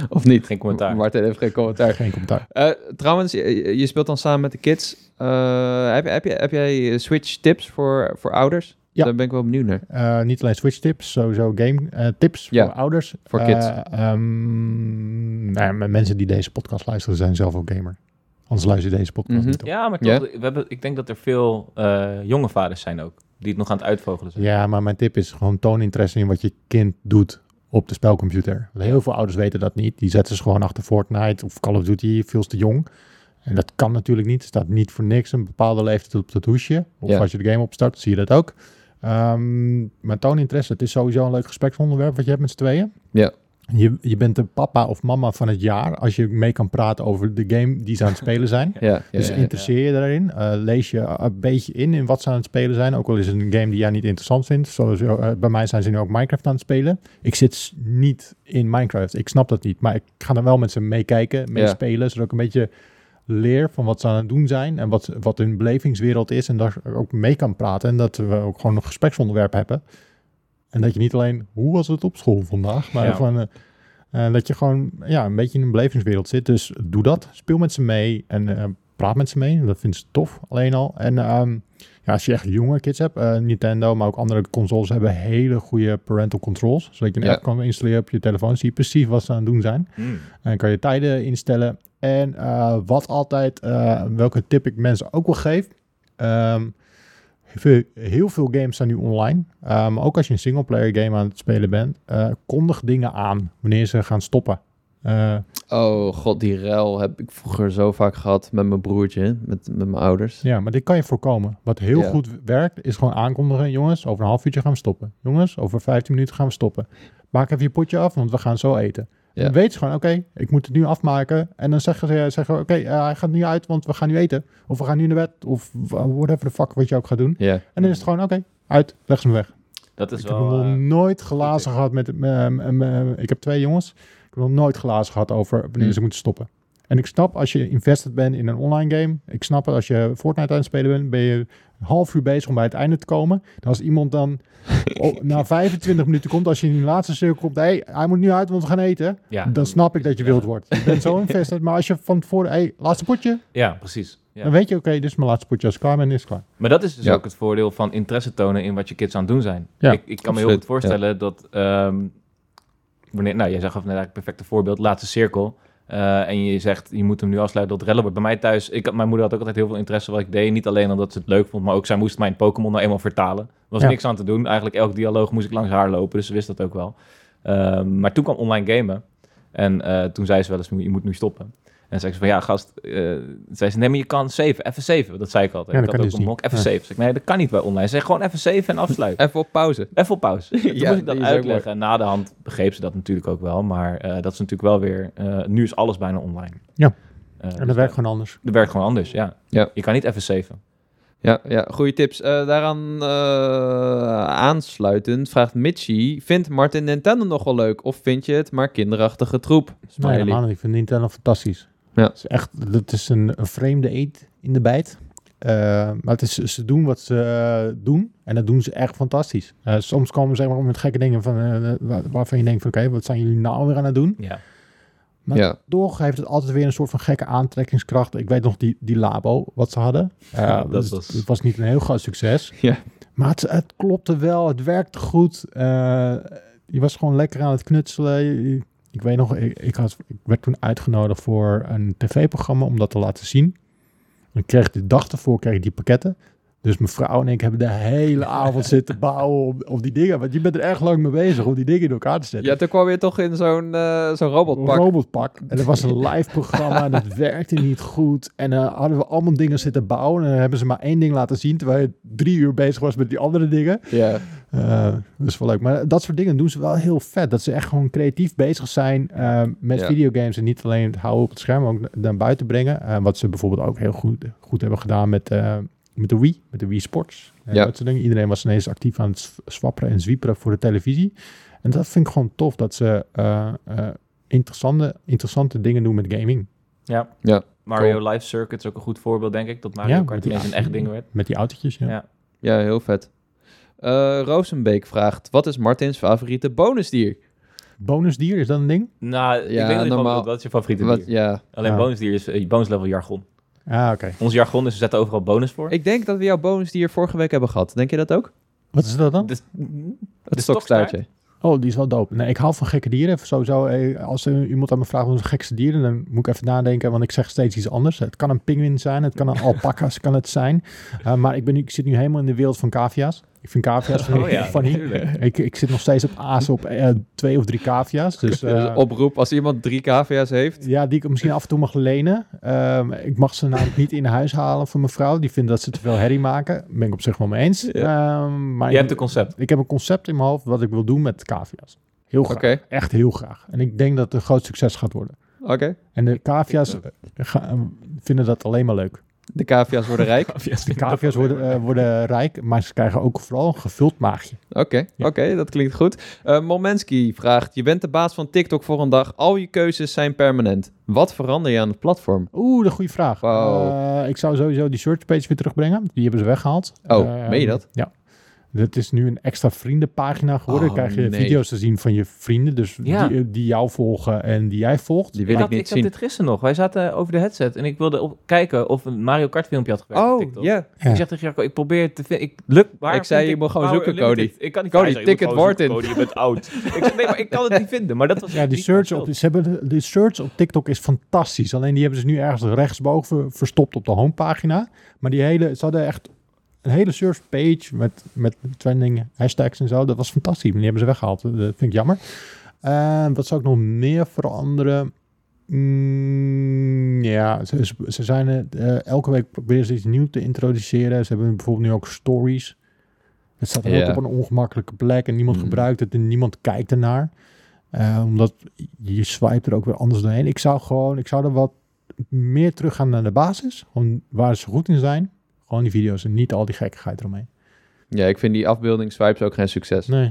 A: of niet?
B: Geen commentaar.
A: Martin heeft geen commentaar.
C: Geen commentaar.
A: Eh, trouwens, je, je speelt dan samen met de kids. Eh, heb, heb, je, heb jij Switch tips voor, voor ouders?
C: Ja.
A: Daar ben ik wel benieuwd naar.
C: Eh, niet alleen Switch tips, sowieso game eh, tips
A: Ja,
C: voor ouders.
A: voor
C: Eh,
A: kids.
C: ehm, nou ja, m- mensen die deze podcast luisteren zijn zelf ook gamer. Anders luister je deze podcast
A: Mhm.
C: niet op.
B: Ja, maar toch,
A: Ja.
B: we hebben, ik denk dat er veel eh, jonge vaders zijn ook, die het nog aan het uitvogelen zijn.
C: Ja, maar mijn tip is gewoon toon interesse in wat je kind doet op de spelcomputer. Want heel veel ouders weten dat niet. Die zetten ze gewoon achter Fortnite of Call of Duty, veel te jong. En dat kan natuurlijk niet. Er staat niet voor niks een bepaalde leeftijd op dat hoesje. Of
A: Ja.
C: als je de game opstart, zie je dat ook. Ehm, maar toon interesse. Het is sowieso een leuk gespreksonderwerp wat je hebt met z'n tweeën.
A: Ja.
C: Je, je bent de papa of mama van het jaar als je mee kan praten over de game die ze aan het spelen zijn.
A: Ja, ja,
C: Dus
A: ja, ja.
C: interesseer je daarin. Eh, lees je een beetje in in wat ze aan het spelen zijn. Ook al is het een game die jij niet interessant vindt. Zoals, eh, bij mij zijn ze nu ook Minecraft aan het spelen. Ik zit s- niet in Minecraft. Ik snap dat niet. Maar ik ga er wel met ze meekijken, meespelen. Zodat ik een beetje leer van wat ze aan het doen zijn. En wat, wat hun belevingswereld is. En daar ook mee kan praten. En dat we ook gewoon een gespreksonderwerp hebben. En dat je niet alleen, hoe was het op school vandaag? Maar
B: Ja.
C: gewoon... eh, eh, dat je gewoon ja, een beetje in een belevingswereld zit. Dus doe dat. Speel met ze mee en eh, praat met ze mee. Dat vindt ze tof, alleen al. En ehm, ja, als je echt jonge kids hebt, eh, Nintendo, maar ook andere consoles hebben hele goede parental controls. Zodat je een
A: Ja.
C: app kan installeren op je telefoon. Zie je precies wat ze aan het doen zijn.
B: Mm.
C: En kan je tijden instellen. En eh, wat altijd, eh, welke tip ik mensen ook wel geef. ehm, heel, heel veel games zijn nu online. Eh, maar ook als je een singleplayer game aan het spelen bent, eh, kondig dingen aan wanneer ze gaan stoppen. Eh,
A: Oh god, die rel heb ik vroeger zo vaak gehad met mijn broertje, met, met mijn ouders.
C: ja, maar dit kan je voorkomen. Wat heel
A: Ja.
C: goed werkt, is gewoon aankondigen. Jongens, over een half uurtje gaan we stoppen. Jongens, over 15 minuten gaan we stoppen. Maak even je potje af, want we gaan zo eten.
A: Ja.
C: Dan weet ze gewoon, oké, ik moet het nu afmaken. En dan zeggen ze, zeggen, ze, oké, eh, hij gaat nu uit, want we gaan nu eten. Of we gaan nu naar bed. Of whatever the fuck wat je ook gaat doen.
A: Ja.
C: En dan is het gewoon, oké, uit, leg ze me weg.
B: Dat is
C: ik mm, heb
B: wel...
C: nog
B: eh,
C: nooit glazen
B: idee.
C: gehad met... eh, eh, eh, eh, ik heb twee jongens. Ik heb nog nooit glazen gehad over wanneer
A: Hmm.
C: ze moeten stoppen. En ik snap als je invested bent in een online game. Ik snap het als je Fortnite aan het spelen bent. Ben je een half uur bezig om bij het einde te komen. En als iemand dan op- na 25 minuten komt. Als je in die laatste cirkel komt. Hey, hij moet nu uit want we gaan eten.
B: ja.
C: Dan snap ik dat je wild wordt. Je bent zo invested. Maar als je van tevoren... Hey, laatste potje.
B: ja, precies. Ja.
C: Dan weet je oké dit is mijn laatste potje. Als ik klaar ben is het klaar.
B: Maar dat is dus
A: Ja.
B: ook het voordeel van interesse tonen in wat je kids aan het doen zijn.
C: Ja,
B: ik, ik kan me heel
A: absoluut,
B: goed voorstellen dat... ehm, wanneer, nou, jij zag net eigenlijk het perfecte voorbeeld, laatste cirkel. eh, en je zegt, je moet hem nu afsluiten, dat rellen wordt. Bij mij thuis, ik, had- mijn moeder had ook altijd heel veel interesse wat ik deed. Niet alleen omdat ze het leuk vond, maar ook zij moest mijn Pokémon nou eenmaal vertalen. Er was
C: Ja.
B: niks aan te doen. Eigenlijk elk dialoog moest ik langs haar lopen, dus ze wist dat ook wel. Ehm, maar toen kwam online gamen. En eh, toen zei ze wel eens, je moet nu stoppen. En zei ik zo van, ja, gast. eh, zei ze, nee, maar je kan save, even save. Dat zei ik altijd.
C: Ja,
B: ik
C: dat
B: had
C: kan
B: ook
C: dus
B: een
C: niet.
B: mok, even
C: Ja.
B: save. Zei ik, nee, dat kan niet bij online. Zeg gewoon even save en afsluiten.
A: Even op pauze.
B: Even op pauze. Toen
A: Ja,
B: moest ik
A: die
B: dat
A: is ook
B: uitleggen. En na de hand begreep ze dat natuurlijk ook wel. Maar eh, dat is natuurlijk wel weer... eh, nu is alles bijna online.
C: Ja.
B: Eh, dus
C: En dat werkt gewoon anders.
B: dat werkt gewoon anders, ja.
A: Ja.
B: Je kan niet even saven.
A: Ja, ja goede tips. Eh, daaraan eh, aansluitend vraagt Mitchie... Vindt Martin Nintendo nog wel leuk? Of vind je het maar kinderachtige troep?
C: Nee,
A: Smiley.
C: helemaal niet. Ik vind Nintendo fantastisch.
A: Ja.
C: Het is echt, dat is een, een vreemde eet in de bijt. Eh, maar het is, ze doen wat ze eh, doen en dat doen ze echt fantastisch. Eh, soms komen ze zeg maar met gekke dingen van, eh, waar- waarvan je denkt van oké, wat zijn jullie nou weer aan het doen?
B: Ja.
C: Maar-
A: ja.
C: Toch heeft het altijd weer een soort van gekke aantrekkingskracht. Ik weet nog die, die labo wat ze hadden. Eh,
B: Ja, dat
C: dus
B: was-
C: Het was niet een heel groot succes.
A: Ja.
C: Maar het, het klopte wel, het werkte goed. Eh, je was gewoon lekker aan het knutselen. Je- je- Ik weet nog, ik, ik, had, ik werd toen uitgenodigd voor een tv-programma om dat te laten zien. Ik kreeg de dag ervoor kreeg ik die pakketten. Dus mijn vrouw en ik hebben de hele avond zitten bouwen op, op die dingen. Want je bent er echt lang mee bezig om die dingen in elkaar te zetten
A: ja, toen kwam je toch in zo'n eh, zo'n robotpak.
C: een robotpak. En dat was een live programma en dat werkte niet goed. En eh, hadden we allemaal dingen zitten bouwen. En dan hebben ze maar één ding laten zien, terwijl je drie uur bezig was met die andere dingen.
A: ja.
C: Eh, dat is wel leuk. Maar dat soort dingen doen ze wel heel vet. Dat ze echt gewoon creatief bezig zijn eh, met
A: Ja.
C: videogames. En niet alleen het houden op het scherm, maar ook na- naar buiten brengen. Eh, wat ze bijvoorbeeld ook heel goed, goed hebben gedaan met, eh, met de Wii. Met de Wii Sports. Eh,
A: Ja.
C: Dat soort dingen. Iedereen was ineens actief aan het s- swapperen en zwieperen voor de televisie. En dat vind ik gewoon tof. Dat ze eh, eh, interessante, interessante dingen doen met gaming.
B: Ja.
A: Ja.
B: Mario Life Circuit is ook een goed voorbeeld, denk ik. Dat Mario
C: Ja,
B: Kart
C: met die
B: ineens een echt ding werd.
C: Met die autootjes, ja.
B: Ja.
A: ja, heel vet. Eh Rozenbeek vraagt... Wat is Martins favoriete bonusdier?
C: Bonusdier, is dat een ding?
B: Nou, ik
A: Ja,
B: weet niet
A: normaal-
B: wat, wat is je favoriete
A: Wat,
B: dier?
A: ja.
B: Alleen
C: Ja.
B: bonusdier is eh, bonuslevel jargon.
C: Ah, oké.
B: Ons jargon is, we zetten overal bonus voor.
A: Ik denk dat we jouw bonusdier vorige week hebben gehad. Denk je dat ook?
C: Wat is dat dan?
B: Dus-
A: Het
B: De
A: stokstaartje.
C: Oh, die is wel dope. Nee, ik hou van gekke dieren. Sowieso, eh, als eh, iemand aan me vraagt wat is het gekste dieren, dan moet ik even nadenken, want ik zeg steeds iets anders. Het kan een pinguïn zijn, het kan een alpaca's kan het zijn. Eh, maar ik, ben nu, ik zit nu helemaal in de wereld van cavia's. Ik vind cavia's
B: Oh ja,
C: funny.
B: tuurlijk.
C: Ik, ik zit nog steeds op aas op eh, twee of drie cavia's. Dus,
A: Dus
C: eh,
A: oproep, als iemand drie KVA's heeft...
C: ja, die ik misschien af en toe mag lenen. Ehm, ik mag ze namelijk niet in huis halen van mijn vrouw. Die vindt dat ze te veel herrie maken. Daar ben ik op zich wel mee eens. Ehm, maar
B: Je hebt een concept.
C: ik heb een concept in mijn hoofd wat ik wil doen met cavia's. Heel
A: Oké,
C: graag. Echt heel graag. En ik denk dat het een groot succes gaat worden.
A: oké.
C: En de cavia's gaan- vinden dat alleen maar leuk.
A: De KVA's worden rijk.
C: De cavia's worden, eh, worden rijk, maar ze krijgen ook vooral een gevuld maagje.
A: Oké,
C: Ja.
A: oké, dat klinkt goed. Eh Momenski vraagt: Je bent de baas van TikTok voor een dag. Al je keuzes zijn permanent. Wat verander je aan het platform?
C: Oeh, de goede vraag.
A: Wauw.
C: Eh, ik zou sowieso die searchpage weer terugbrengen. Die hebben ze weggehaald.
A: Oh,
C: Eh,
A: meen je dat?
C: Ja. Het is nu een extra vriendenpagina geworden.
A: Oh,
C: Dan krijg je
A: nee.
C: video's te zien van je vrienden. Dus
B: Ja.
C: die, die jou volgen en die jij volgt.
A: Die
B: Ik
A: wil ik
B: had,
A: niet
B: ik had
A: zien.
B: dit gisteren nog. Wij zaten over de headset en ik wilde op, kijken of een Mario Kart filmpje had gewerkt op
A: Oh, ja.
B: TikTok. Ik zeg tegen Jacco, ik probeer het te vinden. Ik, lukt, waar
A: Ik zei,
B: vind
A: je moet gewoon
B: Power
A: zoeken, Cody.
B: Unlimited? Ik kan niet
A: Cody,
B: Hij zei, je
A: tik
B: moet
A: het
B: gewoon
A: woord
B: zoeken, Cody, je bent oud. ik zeg, nee, maar ik kan het niet vinden. Maar dat was
C: Ja, die
B: niet
C: search,
B: mijn
C: op,
B: schuld.
C: ze hebben, de search op TikTok is fantastisch. Alleen die hebben ze nu ergens rechtsboven verstopt op de homepagina. Maar die hele, ze hadden echt een hele search page met, met trending hashtags en zo. Dat was fantastisch. Maar die hebben ze weggehaald. Dat vind ik jammer. En wat zou ik nog meer veranderen? Mm, ja, ze, ze- ze zijn eh, elke week proberen ze iets nieuws te introduceren. Ze hebben bijvoorbeeld nu ook stories. Het staat heel
A: Ja.
C: op een ongemakkelijke plek en niemand
A: Mm.
C: gebruikt het en niemand kijkt ernaar. Eh, omdat je swipe er ook weer anders doorheen. Ik zou gewoon, ik zou er wat meer terug gaan naar de basis. Gewoon waar ze goed in zijn. Gewoon die video's en niet al die gekkigheid eromheen.
A: Ja, ik vind die afbeelding swipes ook geen succes.
C: Nee,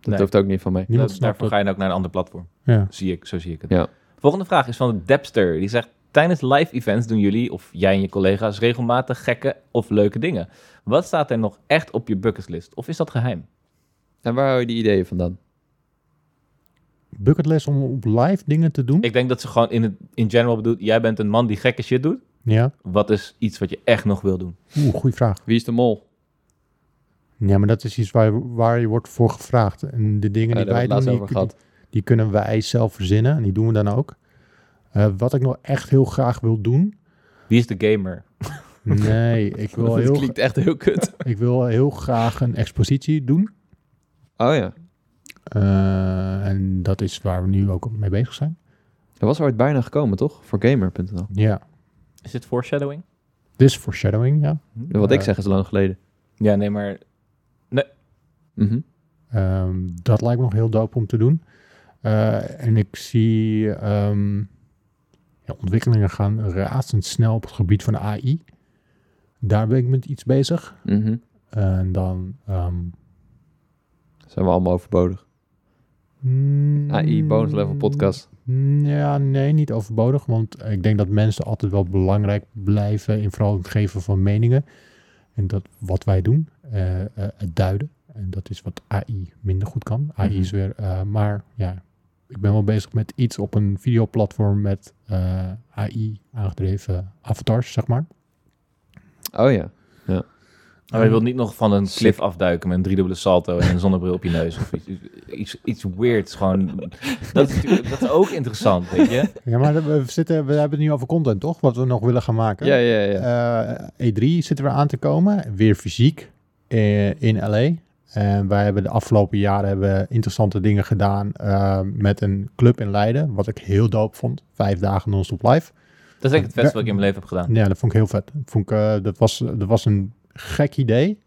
A: Dat
B: Nee.
A: hoeft ook niet van mij.
C: niemand
B: Dat-
C: snapt
B: Daarvoor ga
C: dat.
B: je dan ook naar een ander platform.
C: Ja.
B: Zie ik, zo zie ik het.
A: Ja.
B: Volgende vraag is van Depster. Die zegt, tijdens live events doen jullie, of jij en je collega's, regelmatig gekke of leuke dingen. Wat staat er nog echt op je bucketlist? Of is dat geheim?
A: En waar hou je die ideeën vandaan?
C: Bucketlist om op live dingen te doen.
B: Ik denk dat ze gewoon in, het, in general bedoelt, jij bent een man die gekke shit doet.
C: Ja.
B: Wat is iets wat je echt nog wil doen?
C: Oeh, goede vraag.
A: Wie is de mol?
C: Ja, maar dat is iets waar, waar je wordt voor gevraagd. En de dingen
A: Ja,
C: die
A: Eh, daar
C: wij
A: hebben
C: doen,
A: we het laatst over
C: die,
A: gehad.
C: die- die kunnen wij zelf verzinnen. En die doen we dan ook. Eh, wat ik nog echt heel graag wil doen.
B: Wie is de gamer?
C: Nee, ik wil,
A: Dat
C: heel,
A: klinkt echt heel kut.
C: ik wil heel graag een expositie doen.
A: Oh ja.
C: Eh, en dat is waar we nu ook mee bezig zijn.
A: Er was ooit bijna gekomen, toch? Voor gamer.nl.
C: Ja.
B: Is dit foreshadowing?
C: Dit is foreshadowing, ja.
A: Wat ik
C: Eh.
A: zeg is lang geleden.
B: Ja, nee, maar
A: Mhm.
C: Ehm, dat lijkt me nog heel dope om te doen. Eh, en ik zie ehm, ja, ontwikkelingen gaan razendsnel op het gebied van AI. Daar ben ik met iets bezig.
A: Mhm.
C: En dan... ehm,
A: Zijn we allemaal overbodig.
C: mm,
A: AI, bonus level podcast.
C: Mm, Ja, nee, niet overbodig. Want ik denk dat mensen altijd wel belangrijk blijven in vooral het geven van meningen. En dat wat wij doen, eh, eh, het duiden. En dat is wat AI minder goed kan. AI is weer, eh, maar ja, ik ben wel bezig met iets op een videoplatform met eh, AI aangedreven avatars, zeg maar.
A: Oh ja.
B: maar Oh, je wilt niet nog van een cliff afduiken met een driedubbele salto en een zonnebril op je neus. Of iets, iets, iets weirds. Gewoon, dat, is natuurlijk- dat is ook interessant, weet je?
C: Ja, maar we, zitten, we hebben het nu over content, toch? Wat we nog willen gaan maken.
A: Ja, ja, ja.
C: Eh, E3 zit er aan te komen, weer fysiek eh, in LA. En wij hebben de afgelopen jaren hebben we interessante dingen gedaan eh, met een club in Leiden, wat ik heel dope vond. Vijf dagen non-stop live.
B: Dat is denk ik het beste wat ik in mijn leven heb gedaan.
C: Ja, dat vond ik heel vet. Vond ik, eh, dat, was, dat was een gek idee.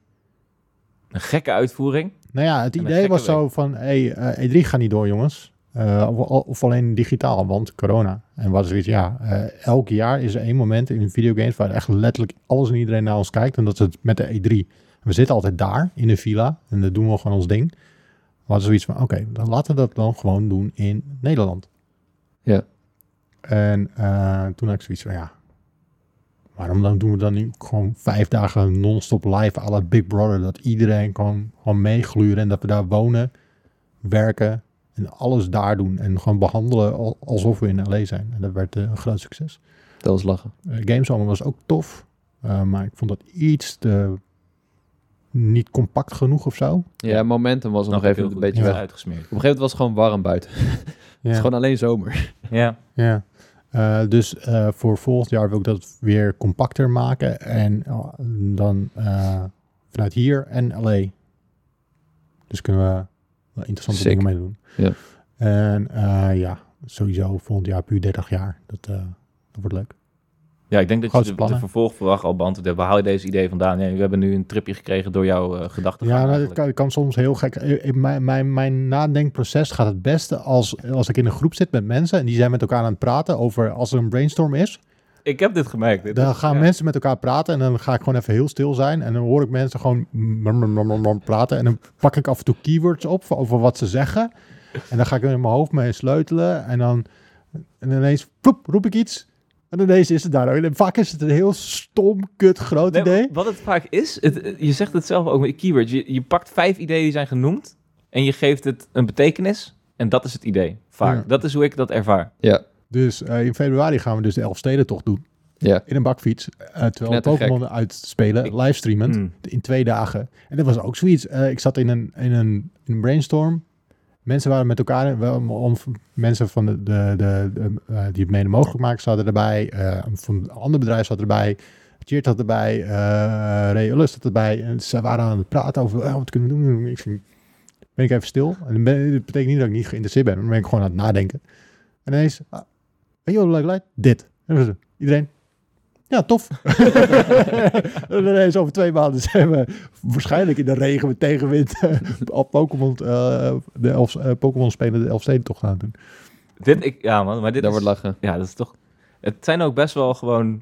B: Een gekke uitvoering.
C: Nou ja, het
B: En een
C: idee was
B: gekke
C: zo van, hey, eh, E3 gaat niet door, jongens. Eh, of, of alleen digitaal, want corona. En wat zoiets, ja, eh, elk jaar is er één moment in videogames waar echt letterlijk alles en iedereen naar ons kijkt. En dat is het met de E3. We zitten altijd daar, in de villa, en dan doen we gewoon ons ding. Maar zoiets van, oké, dan laten we dat dan gewoon doen in Nederland.
A: Ja.
C: En eh, toen had ik zoiets van, ja, waarom dan doen we dan nu gewoon vijf dagen non-stop live à la Big Brother? Dat iedereen kan gewoon meegluren en dat we daar wonen, werken en alles daar doen. En gewoon behandelen al- alsof we in LA zijn. En dat werd eh, een groot succes.
A: Dat was lachen.
C: Eh, Gamesomer was ook tof, eh, maar ik vond dat iets te niet compact genoeg of zo.
A: Ja, momentum was er nog
B: Snap ik heel
A: even een
B: goed.
A: beetje
B: Ja.
A: weg.
B: uitgesmeerd.
A: Op een gegeven moment was het gewoon warm buiten.
C: Ja.
A: Het is gewoon alleen zomer.
B: Ja.
C: Ja. Eh, dus eh, voor volgend jaar wil ik dat weer compacter maken. En eh, dan eh, vanuit hier en LA. Dus kunnen we wel interessante
A: Sick.
C: dingen mee doen.
A: Ja.
C: En eh, ja, sowieso volgend jaar puur 30 jaar. Dat, eh, dat wordt leuk.
B: Ja, ik denk dat
C: Grootste
B: je de, de
C: plannen.
B: vervolgverwacht al beantwoord hebt. Waar haal je deze idee vandaan? Nee, we hebben nu een tripje gekregen door jouw eh, gedachten.
C: ja, nou, dat kan, dat kan soms heel gek. Eh, eh, Mijn, mijn, mijn nadenkproces gaat het beste als, als ik in een groep zit met mensen. En die zijn met elkaar aan het praten over als er een brainstorm is.
B: Ik heb dit gemerkt. Dit
C: Dan
B: is-
C: gaan
B: ja.
C: mensen met elkaar praten en dan ga ik gewoon even heel stil zijn. En dan hoor ik mensen gewoon mum, mum, mum, mum, mum praten. En dan pak ik af en toe keywords op voor- over wat ze zeggen. En dan ga ik er in mijn hoofd mee sleutelen. En dan en ineens ploep, roep ik iets. En ineens is het daar. En vaak is het een heel stom, kut, groot
B: Nee,
C: idee.
B: Wat het vaak is, het- je zegt het zelf ook met keywords. Je, je pakt vijf ideeën die zijn genoemd en je geeft het een betekenis. En dat is het idee, vaak.
C: Ja.
B: Dat is hoe ik dat ervaar.
A: Ja,
C: Dus eh, in februari gaan we dus de Elfstedentocht doen.
A: ja.
C: In een bakfiets. eh, terwijl
A: Knettergek.
C: Pokémon uitspelen,
B: Ik-
C: livestreamend.
B: Mm.
C: in twee dagen. En dat was ook zoiets. Eh, ik zat in een, in, een, in een brainstorm. Mensen waren met elkaar, wel om, om- mensen van de, de, de, de, eh, die het mede mogelijk maken, zaten erbij. Eh, van een ander bedrijf zat erbij. Cheert had erbij. eh Ray Ullus zat erbij. En ze waren aan het praten over eh, wat kunnen we doen. Ik ging, ben ik even stil. En dan ben- dat betekent niet dat ik niet geïnteresseerd ben. maar Dan ben ik gewoon aan het nadenken. En ineens, ah, weet je wat leuk lijkt? Dit. En dan was het, iedereen, ja, tof. en ineens over twee maanden zijn we waarschijnlijk in de regen met tegenwind eh, op Pokémon, eh, de elf, eh, Pokémon spelen de Elfsteden toch gaan doen.
B: Dit, ik, ja man, maar dit
A: Daar
B: is,
A: wordt lachen.
B: Ja, dat is toch... Het zijn ook best wel gewoon...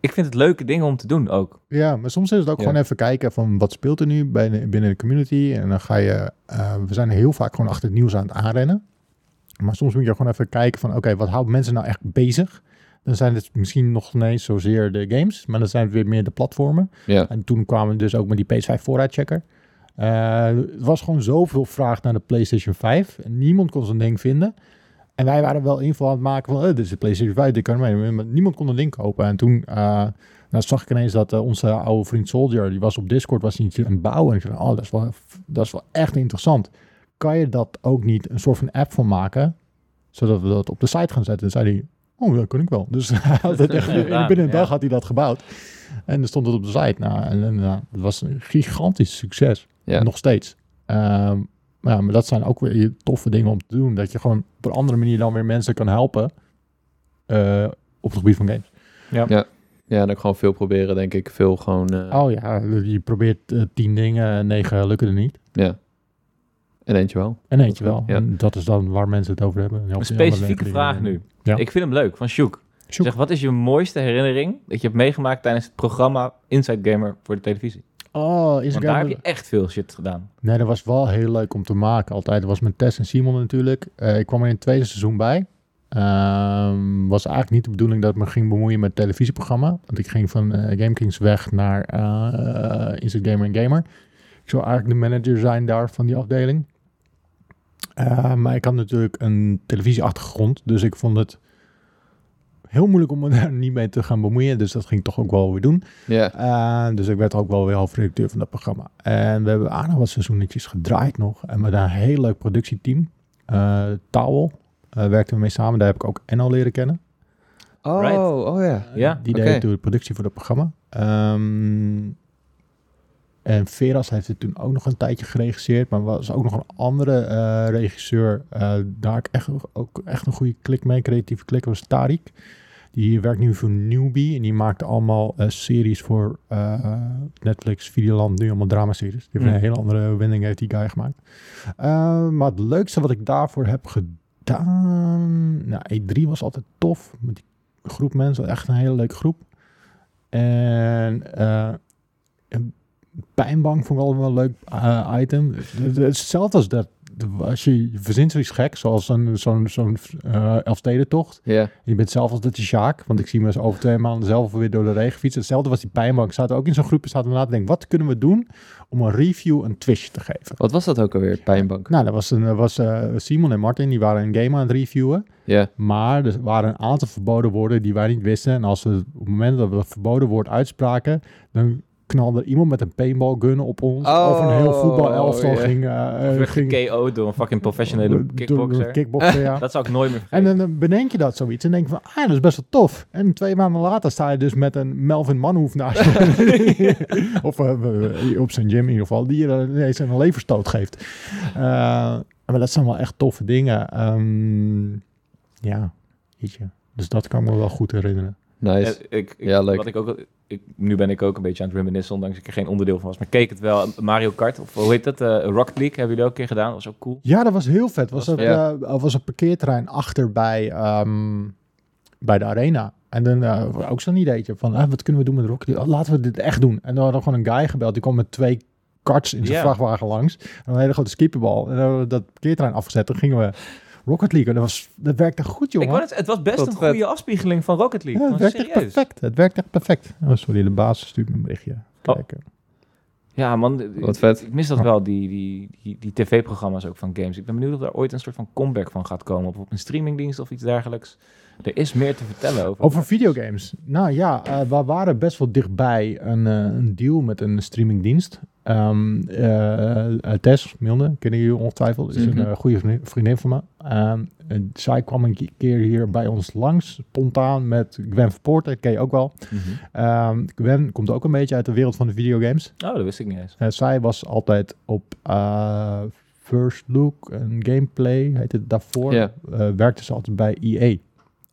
B: Ik vind het leuke dingen om te doen ook.
C: Ja, maar soms is het ook
A: Ja.
C: gewoon even kijken van wat speelt er nu bij de- binnen de community. En dan ga je, eh, we zijn heel vaak gewoon achter het nieuws aan het aanrennen. Maar soms moet je gewoon even kijken van oké, wat houdt mensen nou echt bezig? Dan zijn het misschien nog niet eens zozeer de games, maar dan zijn het weer meer de platformen.
A: Ja.
C: En toen kwamen we dus ook met die PS5 voorraadchecker. Eh, er was gewoon zoveel vraag naar de PlayStation 5. En niemand kon zo'n ding vinden. En wij waren wel info aan het maken van, eh, dit is de PlayStation 5, dit kan mee. Maar niemand kon een ding kopen. En toen eh, nou zag ik ineens dat eh, onze oude vriend Soldier, die was op Discord, was hij aan het bouwen. En ik dacht, oh, dat is, wel, dat is wel echt interessant. Kan je dat ook niet een soort van app van maken, zodat we dat op de site gaan zetten? En zei hij, oh, dat kan ik wel. Dus hij had het echt,
B: Gedaan,
C: binnen een
B: ja.
C: dag had hij dat gebouwd. En dan stond het op de site. Nou, en, en, nou, het was een gigantisch succes.
A: Ja.
C: Nog steeds. Ehm, Ja, maar dat zijn ook weer toffe dingen om te doen. Dat je gewoon op een andere manier dan weer mensen kan helpen eh, op het gebied van games.
D: Ja, en ook gewoon veel proberen, denk ik. Veel gewoon... eh,
C: Oh ja, je probeert eh, tien dingen, negen lukken er niet.
D: Ja. En eentje wel.
C: En eentje wel.
D: Ja.
C: En dat is dan waar mensen het over hebben.
B: Een specifieke vraag nu.
C: Ja.
B: Ik vind hem leuk, van Sjoek.
C: Sjoek.
B: Zeg, wat is je mooiste herinnering dat je hebt meegemaakt tijdens het programma Inside Gamer voor de televisie?
C: Oh, is
B: Want daar heb je echt veel shit gedaan.
C: Nee, dat was wel heel leuk om te maken altijd. Dat was met Tess en Simon natuurlijk. Eh, ik kwam er in het tweede seizoen bij. Ehm, was eigenlijk niet de bedoeling dat ik me ging bemoeien met het televisieprogramma. Want ik ging van eh, Game Kings weg naar eh Instant Gamer en Gamer. Ik zou eigenlijk de manager zijn daar van die afdeling. Eh, maar ik had natuurlijk een televisieachtergrond. Dus ik vond het heel moeilijk om me daar niet mee te gaan bemoeien. Dus dat ging ik toch ook wel weer doen.
D: Ja.
C: En dus ik werd ook wel weer hoofdredacteur van dat programma. En we hebben aardig wat seizoenetjes gedraaid nog. En met een heel leuk productieteam. Eh Towel eh, werkten we mee samen. Daar heb ik ook Enno leren kennen. Eh,
A: Oh,
B: Right.
A: oh ja.
B: Ja,
C: Die
A: Oké.
C: deed toen de productie voor dat programma. Ehm, en Veras heeft het toen ook nog een tijdje geregisseerd. Maar was ook nog een andere eh, regisseur. eh, daar had ik echt, ook echt een goede klik mee. Creatieve klik was Tariq. Die werkt nu voor Newbie. En die maakte allemaal eh, series voor eh, Netflix, Videoland. Nu allemaal dramaseries. Die heeft
B: Mm.
C: een hele andere wending heeft die guy gemaakt. Eh, maar het leukste wat ik daarvoor heb gedaan... Nou, E3 was altijd tof. Met die groep mensen. Echt een hele leuke groep. En... eh, pijnbank vond ik altijd wel een leuk eh, item. Het is hetzelfde als dat. Als je, je verzint zoiets gek, zoals een, zo'n, zo'n eh, Elfstedentocht.
D: Ja.
C: Je bent zelf als dat is Sjaak, want ik zie me eens over twee maanden zelf weer door de regen fietsen. Hetzelfde was die pijnbank. Zaten ook in zo'n groep, zaten we na te denken, wat kunnen we doen om een review een twistje te geven?
D: Wat was dat ook alweer? Pijnbank.
C: Nou, dat was, een, dat was eh, Simon en Martin, die waren een game aan het reviewen.
D: Ja.
C: Maar er waren een aantal verboden woorden die wij niet wisten. En als we op het moment dat we dat verboden woord uitspraken, dan knalde er iemand met een paintballgun op ons.
A: Oh,
C: of een heel voetbalelftal
A: ja.
C: ging... eh,
B: Ik werd
C: ging
B: KO door een fucking
C: door-
B: professionele
C: door-
B: kickboxer.
C: kickboxer, ja.
B: Dat zou ik nooit meer vergeten.
C: En dan eh, bedenk je dat zoiets en denk je van, ah, dat is best wel tof. En twee maanden later sta je dus met een Melvin Manhoef naast je. of eh, eh, op zijn gym in ieder geval, die je ineens een leverstoot geeft. Eh, maar dat zijn wel echt toffe dingen. Ehm, ja, weet je. Dus dat kan ik me wel goed herinneren.
D: Nice.
B: Ja, Eh, ik, ik-
D: Ja, leuk.
B: Wat ik ook, ik, nu ben ik ook een beetje aan het reminiscen, ondanks dat ik er geen onderdeel van was. Maar ik keek het wel. Mario Kart, of hoe heet dat? eh Rocket League hebben jullie ook een keer gedaan. Dat was ook cool.
C: Ja, dat was heel vet. Was
B: Dat
C: dat
D: was
C: was een parkeerterrein achter bij, ehm, bij de arena. En dan eh, ook zo'n ideetje van, ah, wat kunnen we doen met Rocket League? Oh, laten we dit echt doen. En dan hadden we gewoon een guy gebeld. Die kwam met twee karts in zijn
B: Ja.
C: vrachtwagen langs. En een hele grote skipperbal. En dan hadden we dat parkeerterrein afgezet. Dan gingen we Rocket League. En dat, was, dat werkte goed, jongen.
B: Ik wou net- het was best
A: Wat
B: een
A: vet.
B: goede afspiegeling van Rocket
C: Ja,
B: League.
C: het
B: Gewoon
C: werkt echt
B: serieus.
C: perfect. Het werkt echt perfect. Oh, sorry, de baas stuurt me een berichtje.
B: Oh.
C: Kijken.
B: Ja, man. d-
D: Wat
B: d-
D: vet.
B: Ik mis dat wel, die, die, die, die tv-programma's ook van games. Ik ben benieuwd of daar ooit een soort van comeback van gaat komen. Of op een streamingdienst of iets dergelijks. Er is meer te vertellen over.
C: Over videogames. Nou ja, eh, we waren best wel dichtbij een, eh, een deal met een streamingdienst. Ehm eh, eh, Tess Milne, kennen jullie ongetwijfeld. Is
D: Mhm.
C: een eh, goede vriendin- vriendin van me. Ehm, en zij kwam een keer hier bij ons langs, spontaan, met Gwen Verpoort. Dat ken je ook wel.
B: Mhm.
C: Ehm, Gwen komt ook een beetje uit de wereld van de videogames.
B: Oh, dat wist ik niet eens.
C: Eh, zij was altijd op eh, First Look en Gameplay, heet het daarvoor.
D: Ja.
C: eh, werkte ze altijd bij E EA.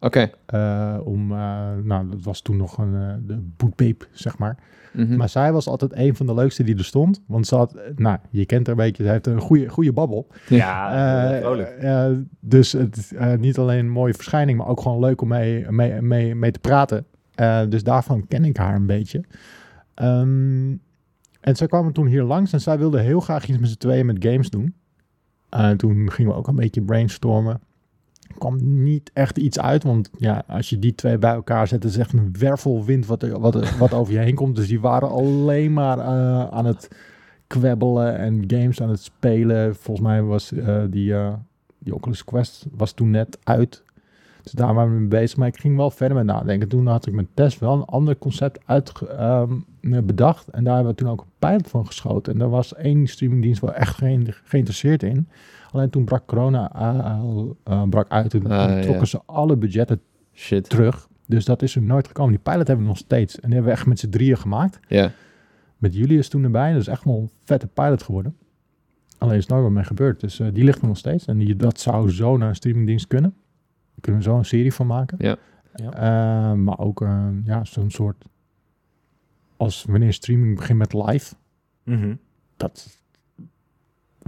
D: Oké.
C: Eh, om, eh, nou, dat was toen nog een eh, de boetbeep, zeg maar.
D: Mhm.
C: Maar zij was altijd een van de leukste die er stond. Want ze had, eh, nou, je kent haar een beetje, ze heeft een goede, goede babbel.
B: Ja,
C: Eh,
B: vrolijk.
C: eh, dus het, eh, niet alleen een mooie verschijning, maar ook gewoon leuk om mee, mee, mee, mee te praten. Eh, dus daarvan ken ik haar een beetje. Ehm, en zij kwamen toen hier langs en zij wilde heel graag iets met z'n tweeën met games doen. En toen gingen we ook een beetje brainstormen. Er kwam niet echt iets uit, want ja, als je die twee bij elkaar zet, is echt een wervelwind wat, er- wat, er- wat over je heen komt. Dus die waren alleen maar eh, aan het kwebbelen en games aan het spelen. Volgens mij was eh, die, eh, die Oculus Quest was toen net uit. Dus daar waren we mee bezig. Maar ik ging wel verder met nadenken. Toen had ik met Tess wel een ander concept uit bedacht. En daar hebben we toen ook een pilot van geschoten. En daar was één streamingdienst wel echt geen, geïnteresseerd in. Alleen toen brak corona eh, eh, brak uit. Toen
D: Ah, ja.
C: trokken ze alle budgetten
D: Shit.
C: terug. Dus dat is er nooit gekomen. Die pilot hebben we nog steeds. En die hebben we echt met z'n drieën gemaakt
D: Ja.
C: met Julius toen erbij. Dat is echt wel een vette pilot geworden. Alleen is nooit wat mee gebeurd. Dus eh, die ligt er nog steeds. En die, dat zou zo naar een streamingdienst kunnen. Daar kunnen we zo een serie van maken.
D: Ja.
B: Ja.
C: Eh, maar ook eh, ja, zo'n soort... Als wanneer streaming begint met live.
B: Mhm.
C: Dat,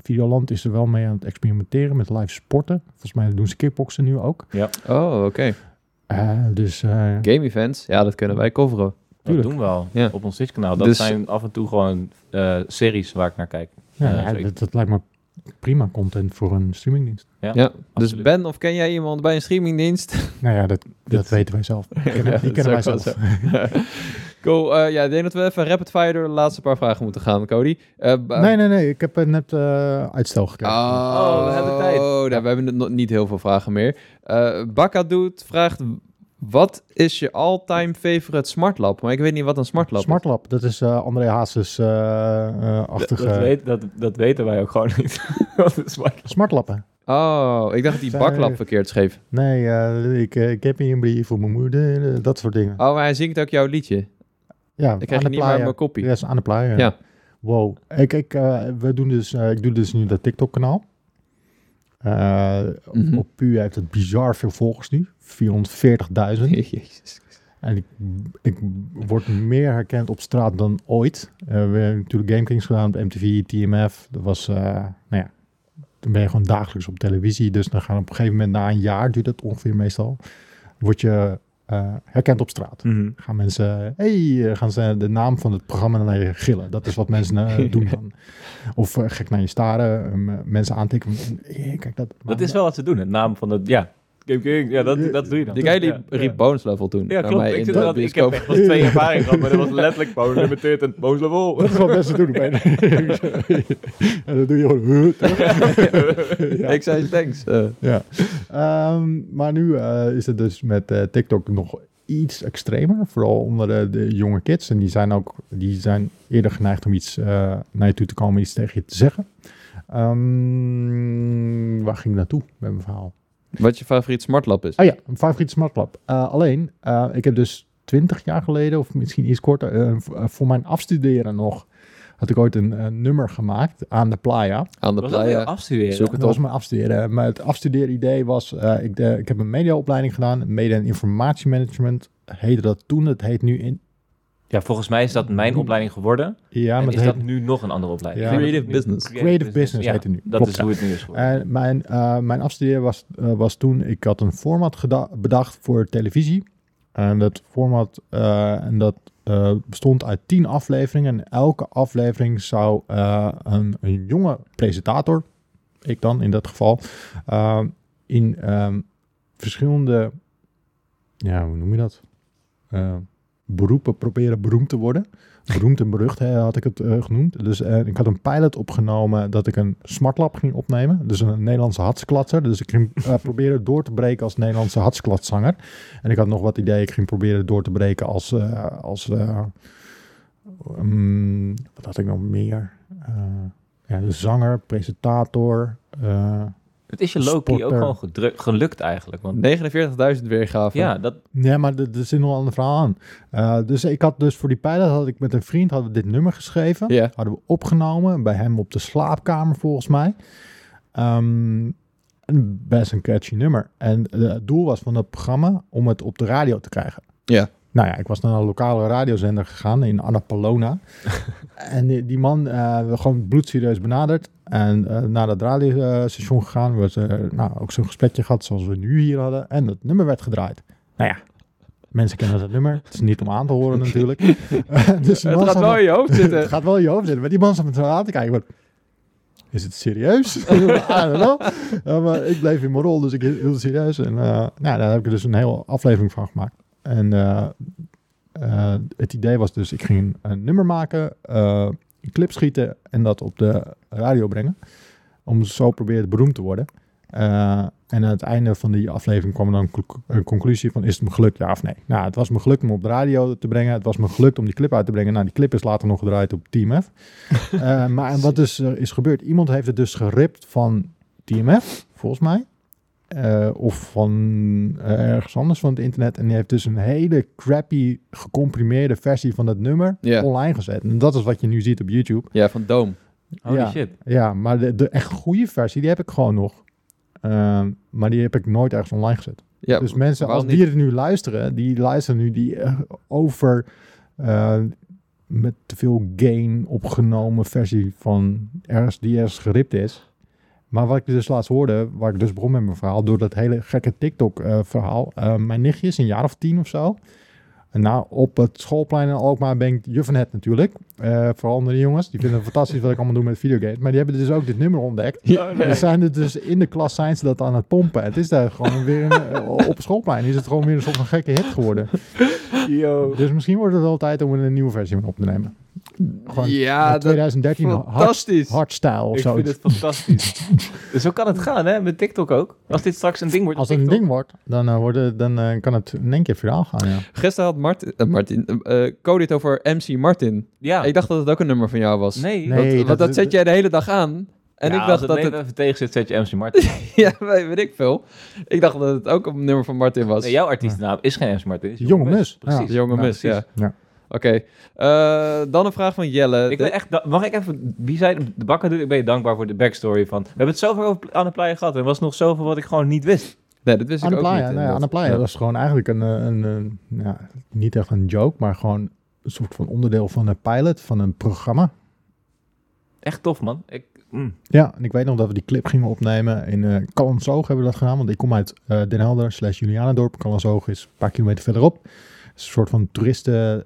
C: Videoland is er wel mee aan het experimenteren met live sporten. Volgens mij doen ze kickboksen nu ook.
D: Oh, oké.
C: Eh, dus eh,
D: Game events, ja, dat kunnen wij coveren.
B: Dat
C: Tuurlijk.
B: doen we al
D: Ja.
B: op ons Twitch-kanaal. Dat
D: Dus-
B: zijn af en toe gewoon eh, series waar ik naar kijk.
C: ja,
B: Ja,
C: ja,
B: zeker.
C: dat, dat lijkt me prima content voor een streamingdienst.
B: Ja,
D: Ja,
B: absoluut.
D: dus Ben, of ken jij iemand bij een streamingdienst?
C: Nou ja, dat, dat, weten wij zelf. Die kennen,
D: Ja, dat
C: die kennen wij
D: is ook
C: zelf.
D: wel zo. cool, eh, ja, ik denk dat we even rapid fire door de laatste paar vragen moeten gaan, Cody. Eh, ba-
C: Nee, nee, nee. Ik heb eh, net eh, uitstel gekregen.
D: Oh,
B: Oh, we hebben tijd.
D: nou, we hebben nog niet heel veel vragen meer. Eh Bakka doet vraagt: wat is je all-time favorite smartlab? Maar ik weet niet wat een smartlab is.
C: Smartlab, dat is eh, André Hazes eh, eh,
B: Dat,
C: achtige...
B: dat weet, dat, dat weten wij ook gewoon niet. Wat is waar?
C: Smartlappen.
D: Oh, ik dacht dat hij
C: Zij-
D: baklap verkeerd schreef.
C: Nee, eh, ik, eh, ik heb hier een brief voor mijn moeder, eh, dat soort dingen.
D: Oh, maar hij zingt ook jouw liedje.
C: ja,
D: Ik krijg je niet meer uit mijn kopie.
C: Ja, is aan de playa.
D: Ja.
C: Wow. Ik, ik, eh, we doen dus, eh, ik doe dus nu dat TikTok-kanaal. Eh, op-
D: Mhm.
C: Op Pu heeft het bizar veel volgers nu. 440.000.
D: Jezus.
C: En ik, ik word meer herkend op straat dan ooit. Eh, we hebben natuurlijk Game Kings gedaan op MTV, TMF. Dat was, eh, nou ja, dan ben je gewoon dagelijks op televisie. Dus dan gaan op een gegeven moment, na een jaar duurt dat ongeveer meestal, word je eh, herkend op straat.
D: Mhm.
C: Gaan mensen, hey, eh, gaan ze de naam van het programma naar je gillen. Dat is wat mensen eh, doen dan. Of eh, gek naar je staren, eh, m- mensen aantikken. Eh, Kijk, dat,
B: Dat is wel wat ze doen. Het naam van het... Ja, Game King. Ja, dat, dat doe je dan.
D: Die guy die
B: Ja.
D: riep Bones Level toen.
B: Ja,
D: naar
B: klopt.
D: mij
B: Ik,
D: in
B: zit
D: de
B: dat, ik heb
D: bioscoop.
B: echt wel twee ervaringen gehad, maar dat was letterlijk Bone Limited en Bone Level.
C: eh, Dat is wat mensen doen. bijna. en dan doe je gewoon... huh, terug. Ja.
D: Ik zei thanks. Eh,
C: Ja. Ehm, maar nu eh, is het dus met eh, TikTok nog iets extremer. Vooral onder de, de jonge kids. En die zijn ook die zijn eerder geneigd om iets eh, naar je toe te komen, iets tegen je te zeggen. Ehm, waar ging ik naartoe met mijn verhaal?
D: wat je favoriet smartlab is.
C: Oh ja, een favoriete smartlab. Eh, alleen, eh, ik heb dus twintig jaar geleden, of misschien iets korter, eh, v- eh, voor mijn afstuderen nog, had ik ooit een eh, nummer gemaakt aan de playa.
D: Aan de
B: Was dat weer
D: playa.
B: afstuderen?
D: Zoek
C: Dat
D: het
C: was
D: op.
C: mijn afstuderen. Maar het afstudeeridee was, eh, ik, de- ik heb een mediaopleiding gedaan, media- en informatiemanagement heette dat toen, het heet nu in...
B: Ja, volgens mij is dat mijn opleiding geworden.
C: Ja,
B: en
C: maar
B: is
C: het heet
B: dat nu nog een andere opleiding?
C: Ja.
D: Creative business.
C: Creative Business
B: ja,
C: heet het nu.
B: Dat
C: Klopt,
B: is
C: ja.
B: hoe het nu is geworden.
C: En mijn, eh, mijn afstuderen was, eh, was toen, ik had een format geda- bedacht voor televisie. En dat format eh, en dat, eh, bestond uit tien afleveringen. En elke aflevering zou eh, een, een jonge presentator, ik dan in dat geval, eh, in ehm, verschillende, ja, hoe noem je dat? Eh, beroepen proberen beroemd te worden. Beroemd en berucht hè, had ik het eh, genoemd. Dus eh, ik had een pilot opgenomen dat ik een smartlap ging opnemen. Dus een Nederlandse hatsklatser. Dus ik ging eh, proberen door te breken als Nederlandse hatsklatzanger. En ik had nog wat ideeën. Ik ging proberen door te breken als... eh, als eh, mm, wat had ik nog meer? Eh, ja, dus zanger, presentator. eh,
B: het is je Loki ook
C: sporter.
B: gewoon gedru- gelukt eigenlijk. Want
D: 49.000 weergaven.
B: ja, dat,
C: Ja, maar er er zit nog een ander verhaal aan. Eh, dus ik had dus voor die pilot had ik met een vriend hadden we dit nummer geschreven.
D: Ja.
C: Hadden we opgenomen bij hem op de slaapkamer volgens mij. Ehm, en best een catchy nummer. En eh, het doel was van dat programma om het op de radio te krijgen.
D: Ja.
C: Nou ja, ik was naar een lokale radiozender gegaan in Annapolona. en die, die man, eh, we gewoon bloedserieus benaderd. En eh, naar dat radiostation gegaan. We hebben nou, ook zo'n gesprekje gehad zoals we nu hier hadden. En dat nummer werd gedraaid. Nou ja, mensen kennen dat nummer. Het is niet om aan te horen natuurlijk. Eh, dus die
D: Het
C: man
D: gaat
C: zat
D: wel in je hoofd
C: het
D: zitten.
C: gaat wel in je hoofd zitten. Maar die man zat me zo aan te kijken. van, is het serieus? I don't know. Ja, maar ik bleef in mijn rol, dus ik hield het serieus. En eh, nou, daar heb ik er dus een hele aflevering van gemaakt. En eh, eh, het idee was dus, ik ging een nummer maken, eh, een clip schieten en dat op de radio brengen. Om zo proberen beroemd te worden. Eh, en aan het einde van die aflevering kwam dan een conc- een conclusie van is het me gelukt, ja of nee. Nou, het was me gelukt om op de radio te brengen. Het was me gelukt om die clip uit te brengen. Nou, die clip is later nog gedraaid op TMF. Eh, maar en wat dus eh, is gebeurd, iemand heeft het dus geript van TMF, volgens mij. Eh, of van eh, ergens anders van het internet. En die heeft dus een hele crappy, gecomprimeerde versie van dat nummer
D: Ja.
C: online gezet. En dat is wat je nu ziet op YouTube.
D: Ja, van Doom.
B: Holy
C: Ja.
B: shit.
C: Ja, maar de, de echt goede versie, die heb ik gewoon nog. Ehm, maar die heb ik nooit ergens online gezet.
D: Ja,
C: dus mensen, als
D: waarom
C: die er nu luisteren, die luisteren nu die eh, over eh, met te veel gain opgenomen versie van ergens die ergens geript is. Maar wat ik dus laatst hoorde, waar ik dus begon met mijn verhaal, door dat hele gekke TikTok-verhaal. Eh, mijn nichtje is een jaar of tien of zo. En nou, op het schoolplein in Alkmaar ben ik juf van het natuurlijk. Eh, vooral andere jongens, die vinden het fantastisch wat ik allemaal doe met videogames. Maar die hebben dus ook dit nummer ontdekt. Er zijn er dus in de klas zijn ze dat aan het pompen. Het is daar gewoon weer een, eh, op schoolplein is het gewoon weer een soort van gekke hit geworden. Dus misschien wordt het wel tijd om er een nieuwe versie van op te nemen. Gewoon
D: Ja,
C: eh,
D: dat
C: 2013 hard,
D: fantastisch.
C: hardstyle of
B: Ik
C: zo.
B: vind het fantastisch. dus zo kan het gaan, hè? Met TikTok ook. Als dit straks een ding wordt op
C: Als het een
B: TikTok.
C: ding wordt, dan, eh, worden, dan eh, kan het in één keer viraal gaan. Ja.
D: Gisteren had Martin, eh, Martin eh, eh, Cody het over MC Martin.
B: Ja.
D: Ik dacht dat het ook een nummer van jou was.
B: Nee.
C: Nee,
D: Want- want
C: dat-
D: Ah. dat, zet jij de hele dag aan. En
B: Ja,
D: ik
B: als
D: dacht
B: het
D: dat
B: leven
D: het...
B: even tegen zit, zet je MC Martin.
D: Ja, weet weet ik veel. Ik dacht dat het ook een nummer van Martin was.
B: Nee, jouw artiestennaam is geen MC Martin. is
C: Jonge Mus.
B: Precies.
D: De jonge
C: Ja,
D: mis, ja.
C: Ja.
D: Oké. Eh, dan een vraag van Jelle.
B: Ik ben echt, da- mag ik even, wie zei, de bakker doet, ik ben je dankbaar voor de backstory van. We hebben het zoveel over Anne Playa gehad en er was nog zoveel wat ik gewoon niet wist.
D: Nee, dat wist ik ook niet.
C: Anaplaya, nou ja,
D: inderdaad.
C: Anaplaya,
D: Ja.
C: dat is gewoon eigenlijk een, eh, een, een ja, niet echt een joke, maar gewoon een soort van onderdeel van een pilot, van een programma.
B: Echt tof, man. Ik, mm.
C: Ja, en ik weet nog dat we die clip gingen opnemen in eh Callensoog hebben we dat gedaan. Want ik kom uit eh, Den Helder slash Julianendorp. Callensoog is een paar kilometer verderop. Het is een soort van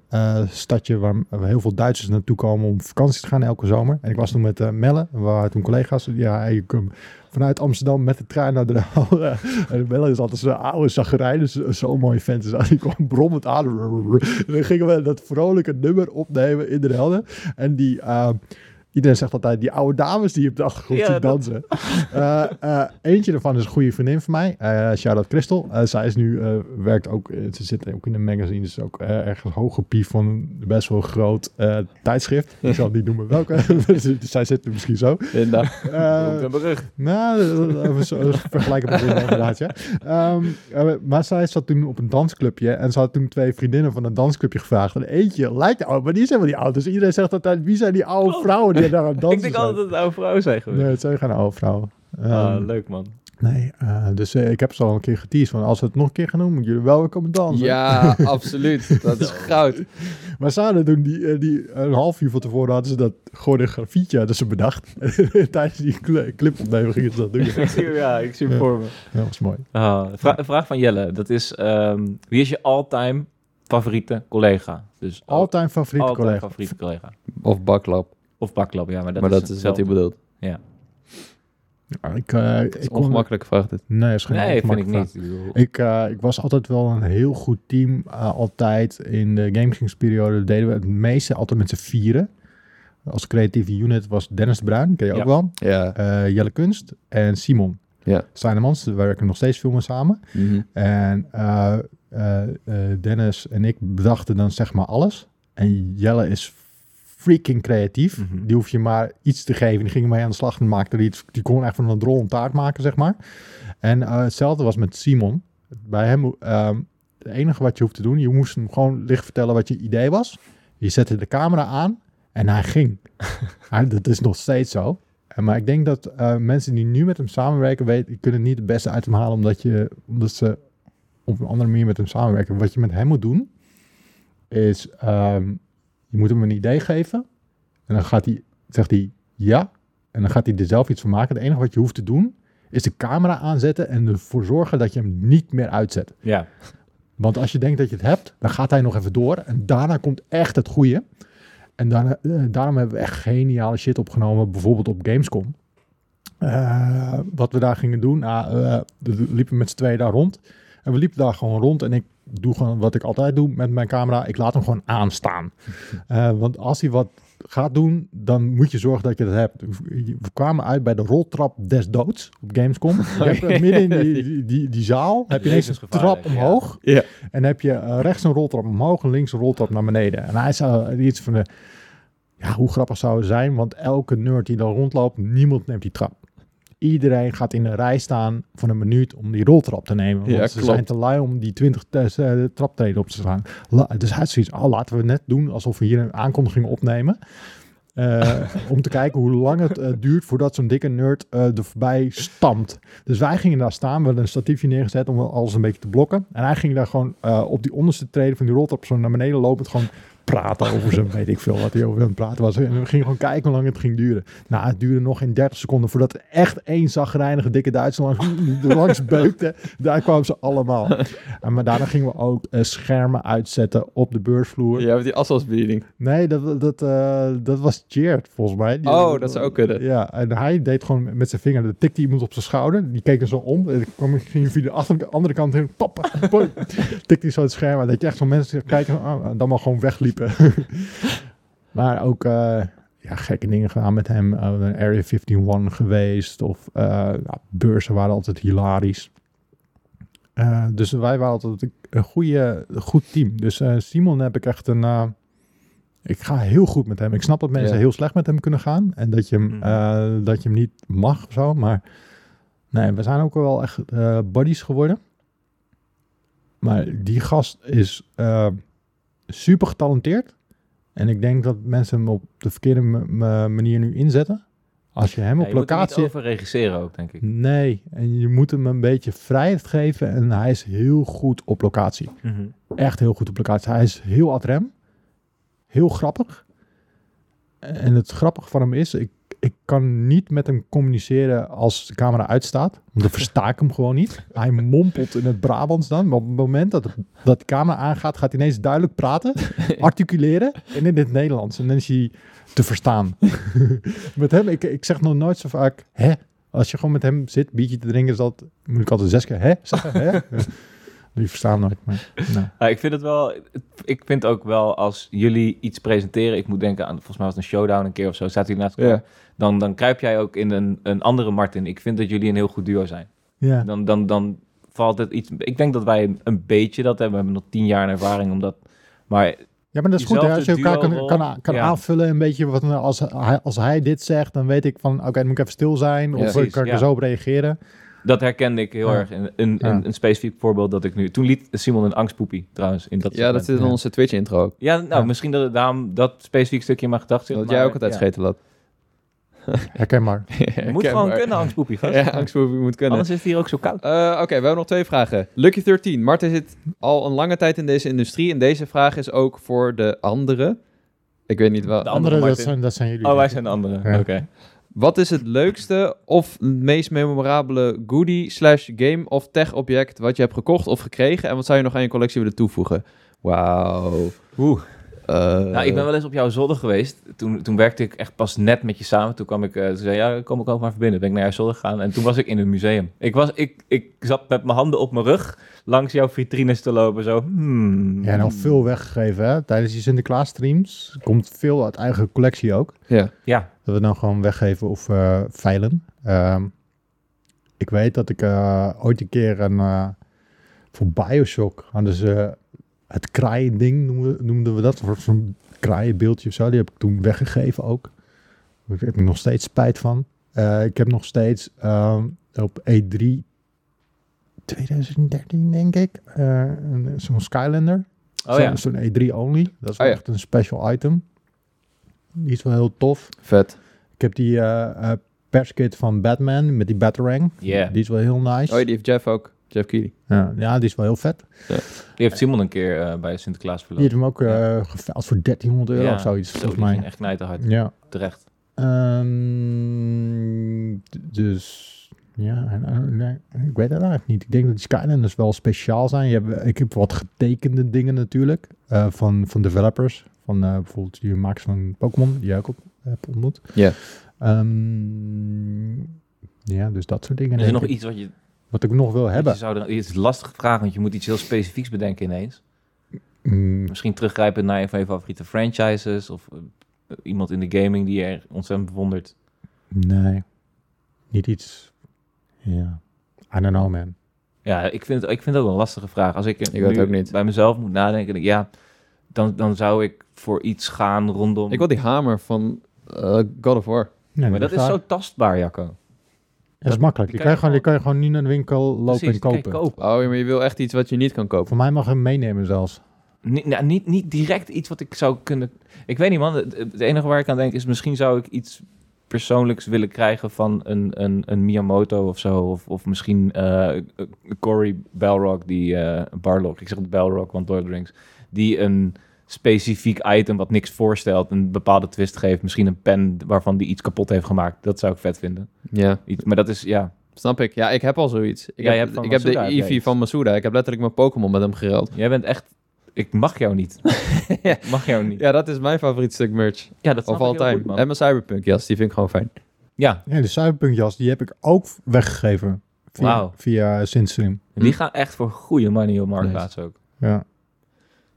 C: toeristenstadje waar waar heel veel Duitsers naartoe komen om op vakantie te gaan elke zomer. En ik was toen met eh, Melle, we waren toen collega's. Ja, ehm, hij kwam vanuit Amsterdam met de trein naar Den Helder. en Melle is altijd zo'n oude zagrijn, dus zo'n mooie vent. Dus hij kwam brommend aan. En dan gingen we dat vrolijke nummer opnemen in Den Helder. En die... eh, Iedereen zegt altijd die oude dames die op de achtergrond
B: Ja,
C: zien
B: dat-
C: dansen. Eh, eh, eentje daarvan is een goede vriendin van mij. Eh Shout-out Christel. Eh, zij is nu, eh, werkt ook, eh, ze zit ook in een magazine. Ze is ook eh, ergens hooggepief van een best wel groot eh, tijdschrift. Ik zal niet noemen welke. zij zit er misschien zo.
D: Inderdaad.
C: Eh, nou, even zo- even vergelijken met dit inderdaad, ja. Ehm, eh, maar zij zat toen op een dansclubje en ze had toen twee vriendinnen van een dansclubje gevraagd. En eentje lijkt oud, maar die is helemaal niet oud. Dus iedereen zegt altijd, wie zijn die oude
B: Klopt.
C: vrouwen die daar aan het dansen
B: Oh. ik denk
C: zijn?
B: altijd dat het oude vrouwen zijn geweest.
C: Nee, het zijn geen oude vrouwen. Ehm,
B: Ah, leuk, man.
C: nee, eh, dus eh, ik heb ze al een keer geteased van als we het nog een keer gaan doen, moeten jullie wel weer komen dansen.
D: Ja, absoluut. Dat is goud.
C: Maar ze hadden toen die, eh, die een half uur van tevoren hadden ze dat choreografietje hadden ze bedacht. Tijdens die cl- clip opnemen gingen ze dat doen.
B: ik zie hem, ja, ik zie hem
C: Ja.
B: voor me.
C: Dat was mooi.
B: Ah, vra- een vraag van Jelle, dat is, ehm, wie is je all-time favoriete collega? Dus al-
C: All-time favoriete
B: all-time
C: collega.
B: favoriete collega.
D: Of baklap.
B: Of baklap, ja, maar dat
D: maar
B: is,
D: dat is wat hij
B: hetzelfde.
D: bedoelt.
C: Ja, ik, eh,
D: Het is
C: ik
D: een
C: kon-
D: ongemakkelijke vraag dit.
C: Nee, is geen
B: Nee, vind ik
C: ongemakkelijke
B: niet.
C: vraag.
B: Ik bedoel-
C: Ik, eh, ik was altijd wel een heel goed team. eh, altijd in de Gamekings periode deden we het meeste altijd met z'n vieren. Als creatieve unit was Dennis de Bruin, ken je
B: Ja.
C: ook wel.
D: Ja.
C: eh, Jelle Kunst en Simon.
D: Ja.
C: Steinemans, daar werken we nog steeds veel mee samen. En eh, eh, eh, Dennis en ik bedachten dan zeg maar alles. En Jelle is freaking creatief.
B: Mhm.
C: Die hoef je maar iets te geven. Die ging mee aan de slag en maakte er iets. Die kon echt van een rol een taart maken, zeg maar. En eh, hetzelfde was met Simon. Bij hem, ehm, het enige wat je hoeft te doen, je moest hem gewoon licht vertellen wat je idee was. Je zette de camera aan en hij ging. Hij- dat is nog steeds zo. En Maar ik denk dat eh, mensen die nu met hem samenwerken, weten, kunnen niet het beste uit hem halen, omdat, je, omdat ze op een andere manier met hem samenwerken. Wat je met hem moet doen, is ehm, je moet hem een idee geven. En dan gaat hij, zegt hij ja. En dan gaat hij er zelf iets van maken. Het enige wat je hoeft te doen, is de camera aanzetten en ervoor zorgen dat je hem niet meer uitzet.
B: Ja,
C: Want als je denkt dat je het hebt, dan gaat hij nog even door. En daarna komt echt het goede. En daarna, eh, daarom hebben we echt geniale shit opgenomen, bijvoorbeeld op Gamescom. Eh, wat we daar gingen doen, nou, eh, we liepen met z'n tweeën daar rond. En we liepen daar gewoon rond en ik doe gewoon wat ik altijd doe met mijn camera. Ik laat hem gewoon aanstaan. Eh, want als hij wat gaat doen, dan moet je zorgen dat je dat hebt. We kwamen uit bij de roltrap des doods op Gamescom. Je hebt, eh, midden in die, die, die, die zaal heb je ineens een
B: Levensgevaarlijk,
C: trap
B: ja.
C: omhoog.
D: Ja.
C: En heb je eh, rechts een roltrap omhoog en links een roltrap naar beneden. En hij zou iets van, de, ja, hoe grappig zou het zijn? Want elke nerd die dan rondloopt, niemand neemt die trap. Iedereen gaat in een rij staan van een minuut om die roltrap te nemen. Want
D: Ja,
C: ze
D: klopt.
C: zijn te lui om die 20 tes- eh, "Ah, traptreden op te slaan. La- dus hij had zoiets, oh, laten we net doen alsof we hier een aankondiging opnemen. eh, om te kijken hoe lang het eh, duurt voordat zo'n dikke nerd eh er voorbij stampt. Dus wij gingen daar staan, we hadden een statiefje neergezet om alles een beetje te blokken. En hij ging daar gewoon eh, op die onderste treden van die roltrap zo naar beneden lopend gewoon praten over zijn, weet ik veel wat hij over hem praten was. En we gingen gewoon kijken hoe lang het ging duren. Nou, het duurde nog geen 30 seconden voordat er echt één zagrijnige dikke Duitser langs, langs beukte. Daar kwamen ze allemaal. En, maar daarna gingen we ook eh, schermen uitzetten op de beursvloer.
D: Ja, met die afstandsbediening.
C: Nee, dat, dat, eh, dat was Jared volgens mij. Die-
D: Oh, dat zou ook kunnen.
C: Ja, en hij deed gewoon met zijn vinger, dan tikte iemand op zijn schouder. Die keek er zo om. En dan kwam, ging via de achter- andere kant heen. Pap, boem. tikte hij zo het scherm aan. Dat je echt zo'n mensen kijken oh, en dan maar gewoon wegliepen. maar ook eh, ja, gekke dingen gedaan met hem. Eh, een Area 51 geweest. Of eh, nou, beurzen waren altijd hilarisch. Eh, dus wij waren altijd een- een, goede, een goed team. Dus eh, Simon heb ik echt een... eh, ik ga heel goed met hem. Ik snap dat mensen
D: Ja.
C: heel slecht met hem kunnen gaan. En dat je hem,
B: Mhm.
C: eh, dat je hem niet mag of zo. Maar nee, we zijn ook wel echt eh, buddies geworden. Maar die gast is eh, super getalenteerd. En ik denk dat mensen hem op de verkeerde m- m- manier nu inzetten. Als je hem
B: Ja,
C: op
B: je moet er niet
C: locatie...
B: over regisseren ook, denk ik.
C: Nee, en je moet hem een beetje vrijheid geven. En hij is heel goed op locatie.
B: Mhm.
C: Echt heel goed op locatie. Hij is heel ad rem. Heel grappig. En het grappige van hem is, ik, ik kan niet met hem communiceren als de camera uitstaat. Want dan versta ik hem gewoon niet. Hij mompelt in het Brabants dan. Maar op het moment dat, dat de camera aangaat, gaat hij ineens duidelijk praten, articuleren. En in het Nederlands. En dan is hij te verstaan. met hem, ik, ik zeg nog nooit zo vaak, hè? Als je gewoon met hem zit, biertje te drinken, is dat, moet ik altijd zes keer, hè? Zeggen, hè? Die verstaan nooit, maar nou.
B: Ja, ik vind het wel. Ik vind ook wel als jullie iets presenteren. Ik moet denken aan. Volgens mij was het een showdown een keer of zo. Staat hij naast elkaar.
D: Ja.
B: Dan, dan kruip jij ook in een, een andere Martin. Ik vind dat jullie een heel goed duo zijn.
C: Ja,
B: Dan, dan, dan valt het iets. Ik denk dat wij een beetje dat hebben. We hebben nog tien jaar ervaring om dat. Maar
C: ja maar dat is goed. Hè? Als je
B: Diezelfde
C: elkaar kan,
B: duo-rol.
C: kan, a- kan
B: Ja.
C: aanvullen een beetje, wat, nou, als, hij, als hij dit zegt, dan weet ik van, oké, dan moet ik even stil zijn. of
B: precies,
C: kan ik er
B: ja.
C: zo op reageren.
B: dat herkende ik heel
C: Ja.
B: erg. In, in,
C: Ja.
B: in een specifiek voorbeeld dat ik nu. Toen liet Simon een angstpoepie trouwens. In dat
D: Ja, dat
B: segment.
D: zit in
C: Ja.
D: onze Twitch-intro ook.
B: ja, nou,
C: Ja.
B: misschien dat het daarom dat specifiek stukje in mijn gedachten zit.
D: Dat
B: maar-
D: jij ook altijd
B: ja.
D: scheten laat.
C: Herkenbaar.
B: Je moet gewoon kunnen, angstpoepie. gast.
D: Ja, angstmovie moet kunnen.
B: Anders is het hier ook zo koud.
D: Eh, Oké, we hebben nog twee vragen. Lucky 13. Marten zit al een lange tijd in deze industrie. En deze vraag is ook voor de anderen. Ik weet niet wel.
B: De
C: Andere, dat
B: Martin.
C: zijn, dat zijn jullie.
B: Oh, wij zijn de anderen.
C: Ja.
B: Oké.
D: Wat is het leukste of het meest memorabele goodie slash game of tech object wat je hebt gekocht of gekregen? En wat zou je nog aan je collectie willen toevoegen? Wauw.
B: Oeh.
D: Eh,
B: Nou, ik ben wel eens op jouw zolder geweest. Toen, toen werkte ik echt pas net met je samen. Toen kwam ik, eh, toen zei je, ja, kom ik ook maar even binnen. Ben ik naar jouw zolder gegaan en toen was ik in het museum. Ik, was, ik, ik zat met mijn handen op mijn rug langs jouw vitrines te lopen. Zo, hmm.
C: Ja, en al veel weggegeven, hè. Tijdens die Sinterklaas streams komt veel uit eigen collectie ook.
D: Ja.
B: Ja,
C: Dat we dan gewoon weggeven of eh, veilen. Ehm, ik weet dat ik eh, ooit een keer een... eh, voor Bioshock hadden ze het kraaiending, noemden, noemden we dat. Een soort van kraaienbeeldje of zo. Die heb ik toen weggegeven ook. Daar heb ik nog steeds spijt van. Eh, ik heb nog steeds ehm, op E3 2013, denk ik, eh, een- zo'n Skylander.
B: Oh
C: Zo-
B: ja.
C: Zo'n E3 only. Dat is wel
D: Oh ja.
C: echt een special item. Die is wel heel tof.
D: Vet.
C: Ik heb die eh, eh, perskit van Batman met die Batarang.
B: Yeah.
C: Die is wel heel nice.
D: Oh, die heeft Jeff ook. Jeff Keely.
C: ja, ja, die is wel heel vet.
B: die heeft Simon een keer eh, bij Sinterklaas
C: Die heeft
B: verloren.
C: hem ook eh geveild voor 1300 euro
B: Ja.
C: of zoiets,
B: Zo,
C: volgens
B: die ging
C: mij.
B: echt knijterhard.
C: Ja.
B: Terecht.
C: Ehm, d- dus... Ja, en, eh, nee, ik weet het eigenlijk niet. Ik denk dat die Skylanders wel speciaal zijn. Je hebt, ik heb wat getekende dingen natuurlijk eh, van, van developers. Van eh, bijvoorbeeld die makers van Pokémon, die jij ook op, eh, hebt ontmoet.
D: Ja.
C: Ehm, ja, dus dat soort dingen.
B: Is er nog
C: denk ik.
B: iets wat je,
C: Wat ik nog wil
B: wat
C: hebben.
B: je zou... er- Het is lastig vragen, want je moet iets heel specifieks bedenken ineens.
C: Mm,
B: Misschien teruggrijpen naar een van je favoriete franchises... of eh, iemand in de gaming die je er ontzettend bewondert.
C: nee, niet iets. Ja, I don't know man.
B: Ja, ik vind, ik vind het ook een lastige vraag. Als ik, er
D: Ik weet het
B: nu
D: ook niet.
B: bij mezelf moet nadenken, denk ik, ja, dan, dan zou ik voor iets gaan rondom...
D: Ik wil die hamer van eh, God of War.
C: Nee,
B: maar dat is
C: waar.
B: zo tastbaar, Jacco.
C: Dat is makkelijk. Je
B: die
C: kan,
B: kan je
C: je gewoon, je kan je gewoon nu naar de winkel lopen
B: Precies,
C: en
B: die kan je
C: kopen.
B: kopen.
D: Oh, ja, maar je wil echt iets wat je niet kan kopen.
C: Voor mij mag je hem meenemen zelfs.
B: Niet, nou, niet, niet direct iets wat ik zou kunnen... Ik weet niet, man. Het, het enige waar ik aan denk is... misschien zou ik iets persoonlijks willen krijgen van een, een, een Miyamoto of zo. Of, of misschien eh Cory Balrog, die... eh Barlog, ik zeg het Balrog, want Lord of the Rings. Die een specifiek item wat niks voorstelt... een bepaalde twist geeft. Misschien een pen waarvan die iets kapot heeft gemaakt. Dat zou ik vet vinden.
A: Ja,
B: Iets, maar dat is, ja...
A: snap ik. Ja, ik heb al zoiets. Ik
B: Ja, je
A: heb,
B: hebt van
A: ik heb de
B: Masuda, heb jij
A: Eevee van Masuda. Ik heb letterlijk mijn Pokémon met hem gereld.
B: Jij bent echt... Ik mag jou niet. Ik mag jou niet.
A: Ja, dat is mijn favoriet stuk merch.
B: Ja, dat
A: Of all time. en mijn Cyberpunk jas, die vind ik gewoon fijn.
B: Ja,
C: Ja, de Cyberpunk jas, die heb ik ook weggegeven. Via,
B: Wauw.
C: via Sinstream.
B: die gaan echt voor goede money op Marktplaats ook.
C: Ja.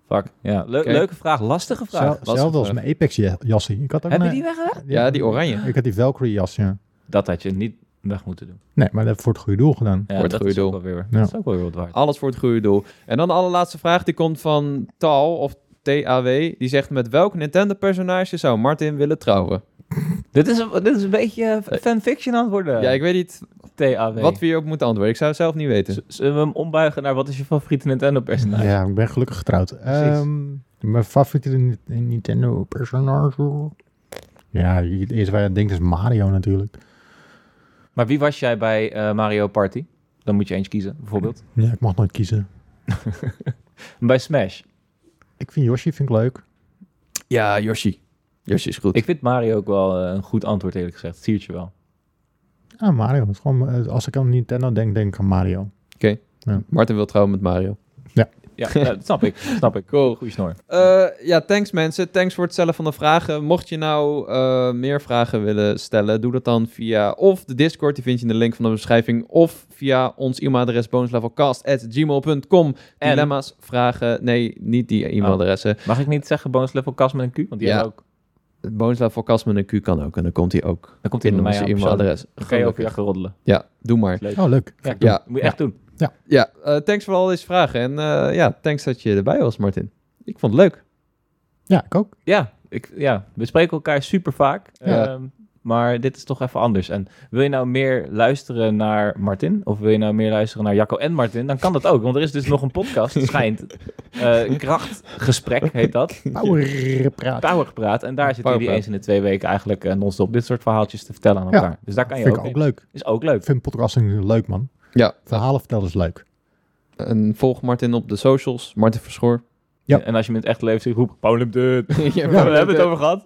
B: Fuck, ja. Le-
A: Kijk.
B: Leuke vraag, lastige vraag.
C: Zel-
B: Lastige
C: Hetzelfde als
B: vraag.
C: mijn Apex ja- jassie. Ik had ook
B: Heb je
C: een-
B: die weggelegd?
A: Ja, die oranje.
C: Ik had die Valkyrie jas, ja.
B: Dat had je niet weg moeten doen.
C: Nee, maar dat heb ik voor het goede doel gedaan.
B: Ja, Ah.
A: Voor het
B: dat
A: goede
B: is ook
A: doel.
B: wel weer,
C: Ja.
B: dat is ook wel weer wat waard.
A: Alles voor het goede doel. En dan de allerlaatste vraag, die komt van Tal, of TAW. Die zegt, met welk Nintendo-personage zou Martin willen trouwen?
B: Dit, is een, dit is een beetje eh, f- fanfiction aan het worden.
A: Ja, ik weet niet
B: TAW.
A: wat we hierop moeten antwoorden. Ik zou het zelf niet weten.
B: Z- Zullen we hem ombuigen naar wat is je favoriete Nintendo-personage?
C: Ja, ik ben gelukkig getrouwd. Ehm, mijn favoriete Ni- Nintendo personage. Ja, het eerste waar je aan denkt is Mario natuurlijk.
B: Maar wie was jij bij eh, Mario Party? Dan moet je eentje kiezen, bijvoorbeeld.
C: Ja, ik mag nooit kiezen.
B: En Bij Smash.
C: Ik vind Yoshi vind ik leuk.
A: Ja, Yoshi. Yoshi is goed.
B: Ik vind Mario ook wel eh, een goed antwoord, eerlijk gezegd. Zie je wel.
C: Ah, Mario. Het is gewoon, eh, als ik aan Nintendo denk, denk ik aan Mario.
A: Martin wil trouwen met Mario.
B: Ja, ja, dat snap ik. Snap ik.
A: Cool.
B: Goeie snor.
A: Eh, ja, thanks mensen. Thanks voor het stellen van de vragen. Mocht je nou eh, meer vragen willen stellen, doe dat dan via of de Discord, die vind je in de link van de beschrijving, of via ons e-mailadres bonuslevelcast.gmail.com.
B: En-
A: Dilemma's, vragen, nee, niet die e-mailadressen.
B: Mag ik niet zeggen bonus level kast met een Q? Want die
A: Ja.
B: hebben ook
A: Het Bonuslevelcast met een Q kan ook, en dan komt hij ook
B: Dan Oh. komt hij
A: in
B: naar mij
A: onze
B: aan. persoonlijk.
A: e-mailadres.
B: Dan kan je ook
A: Gelukkig.
B: weer roddelen.
A: Ja, doe maar.
B: Leuk.
C: Oh, leuk.
B: Ja,
A: Ja.
B: dat moet je echt doen.
A: Ja, eh, thanks voor al deze vragen. En eh, ja, thanks dat je erbij was, Martin. Ik vond het leuk.
C: Ja, ik ook.
B: Ja, ik, ja, we spreken elkaar super vaak.
A: Ja.
B: ehm, maar dit is toch even anders. En wil je nou meer luisteren naar Martin? Of wil je nou meer luisteren naar Jacco en Martin? Dan kan dat ook, want er is dus nog een podcast, het schijnt. Eh, krachtgesprek heet dat.
C: Power praat.
B: Powergepraat. En daar zitten jullie
A: Powerpraat.
B: eens in de twee weken eigenlijk eh, non-stop dit soort verhaaltjes te vertellen aan
C: Ja.
B: elkaar. Dus daar kan je
C: Vind ik
B: ook,
C: ook
B: in.
C: leuk.
B: Is ook
C: Ik
B: leuk.
C: vind podcasting leuk, man.
A: Ja.
C: Verhalen vertellen is leuk.
A: En volg Martin op de socials, Martin Verschoor.
C: Ja.
B: En als je met echt leeft, roep Paul hem dit. We
A: ja,
B: hebben het over gehad.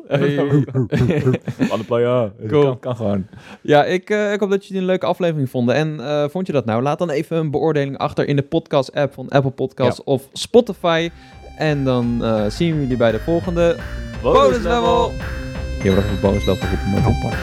B: Alle player.
A: Cool.
B: Kan, kan gewoon.
A: Ja, ik, eh, ik hoop dat jullie het een leuke aflevering vonden. En eh, vond je dat nou? Laat dan even een beoordeling achter in de podcast-app van Apple Podcasts of Spotify. En dan eh, zien we jullie bij de volgende.
B: Bonus level.
A: Hier wordt even een bonuslevel roepen, Martin.
C: Oh, boy.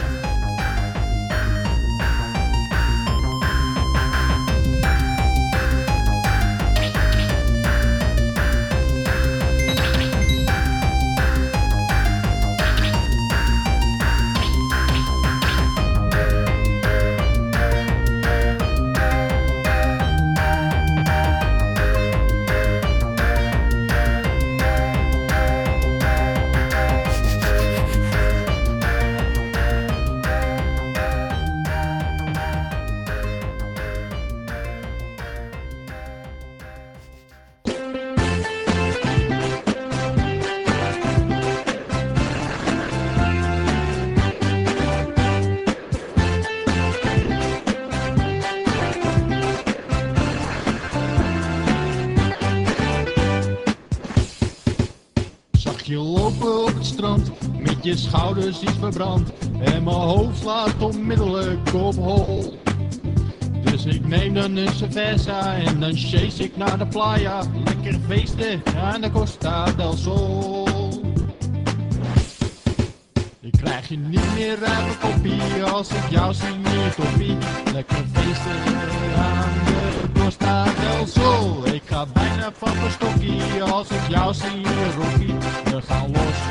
E: Zag je lopen op het strand, met je schouders iets verbrand. En mijn hoofd slaat onmiddellijk op hol. Dus ik neem dan een cerveza en dan chase ik naar de playa. Lekker feesten aan de Costa del Sol. Ik krijg je niet meer uit mijn kopie als ik jou zie meer kopie. Lekker feesten aan de Costa del Sol. Ik ga bijna van mijn stokkie als ik jou zie meer roekie. We gaan los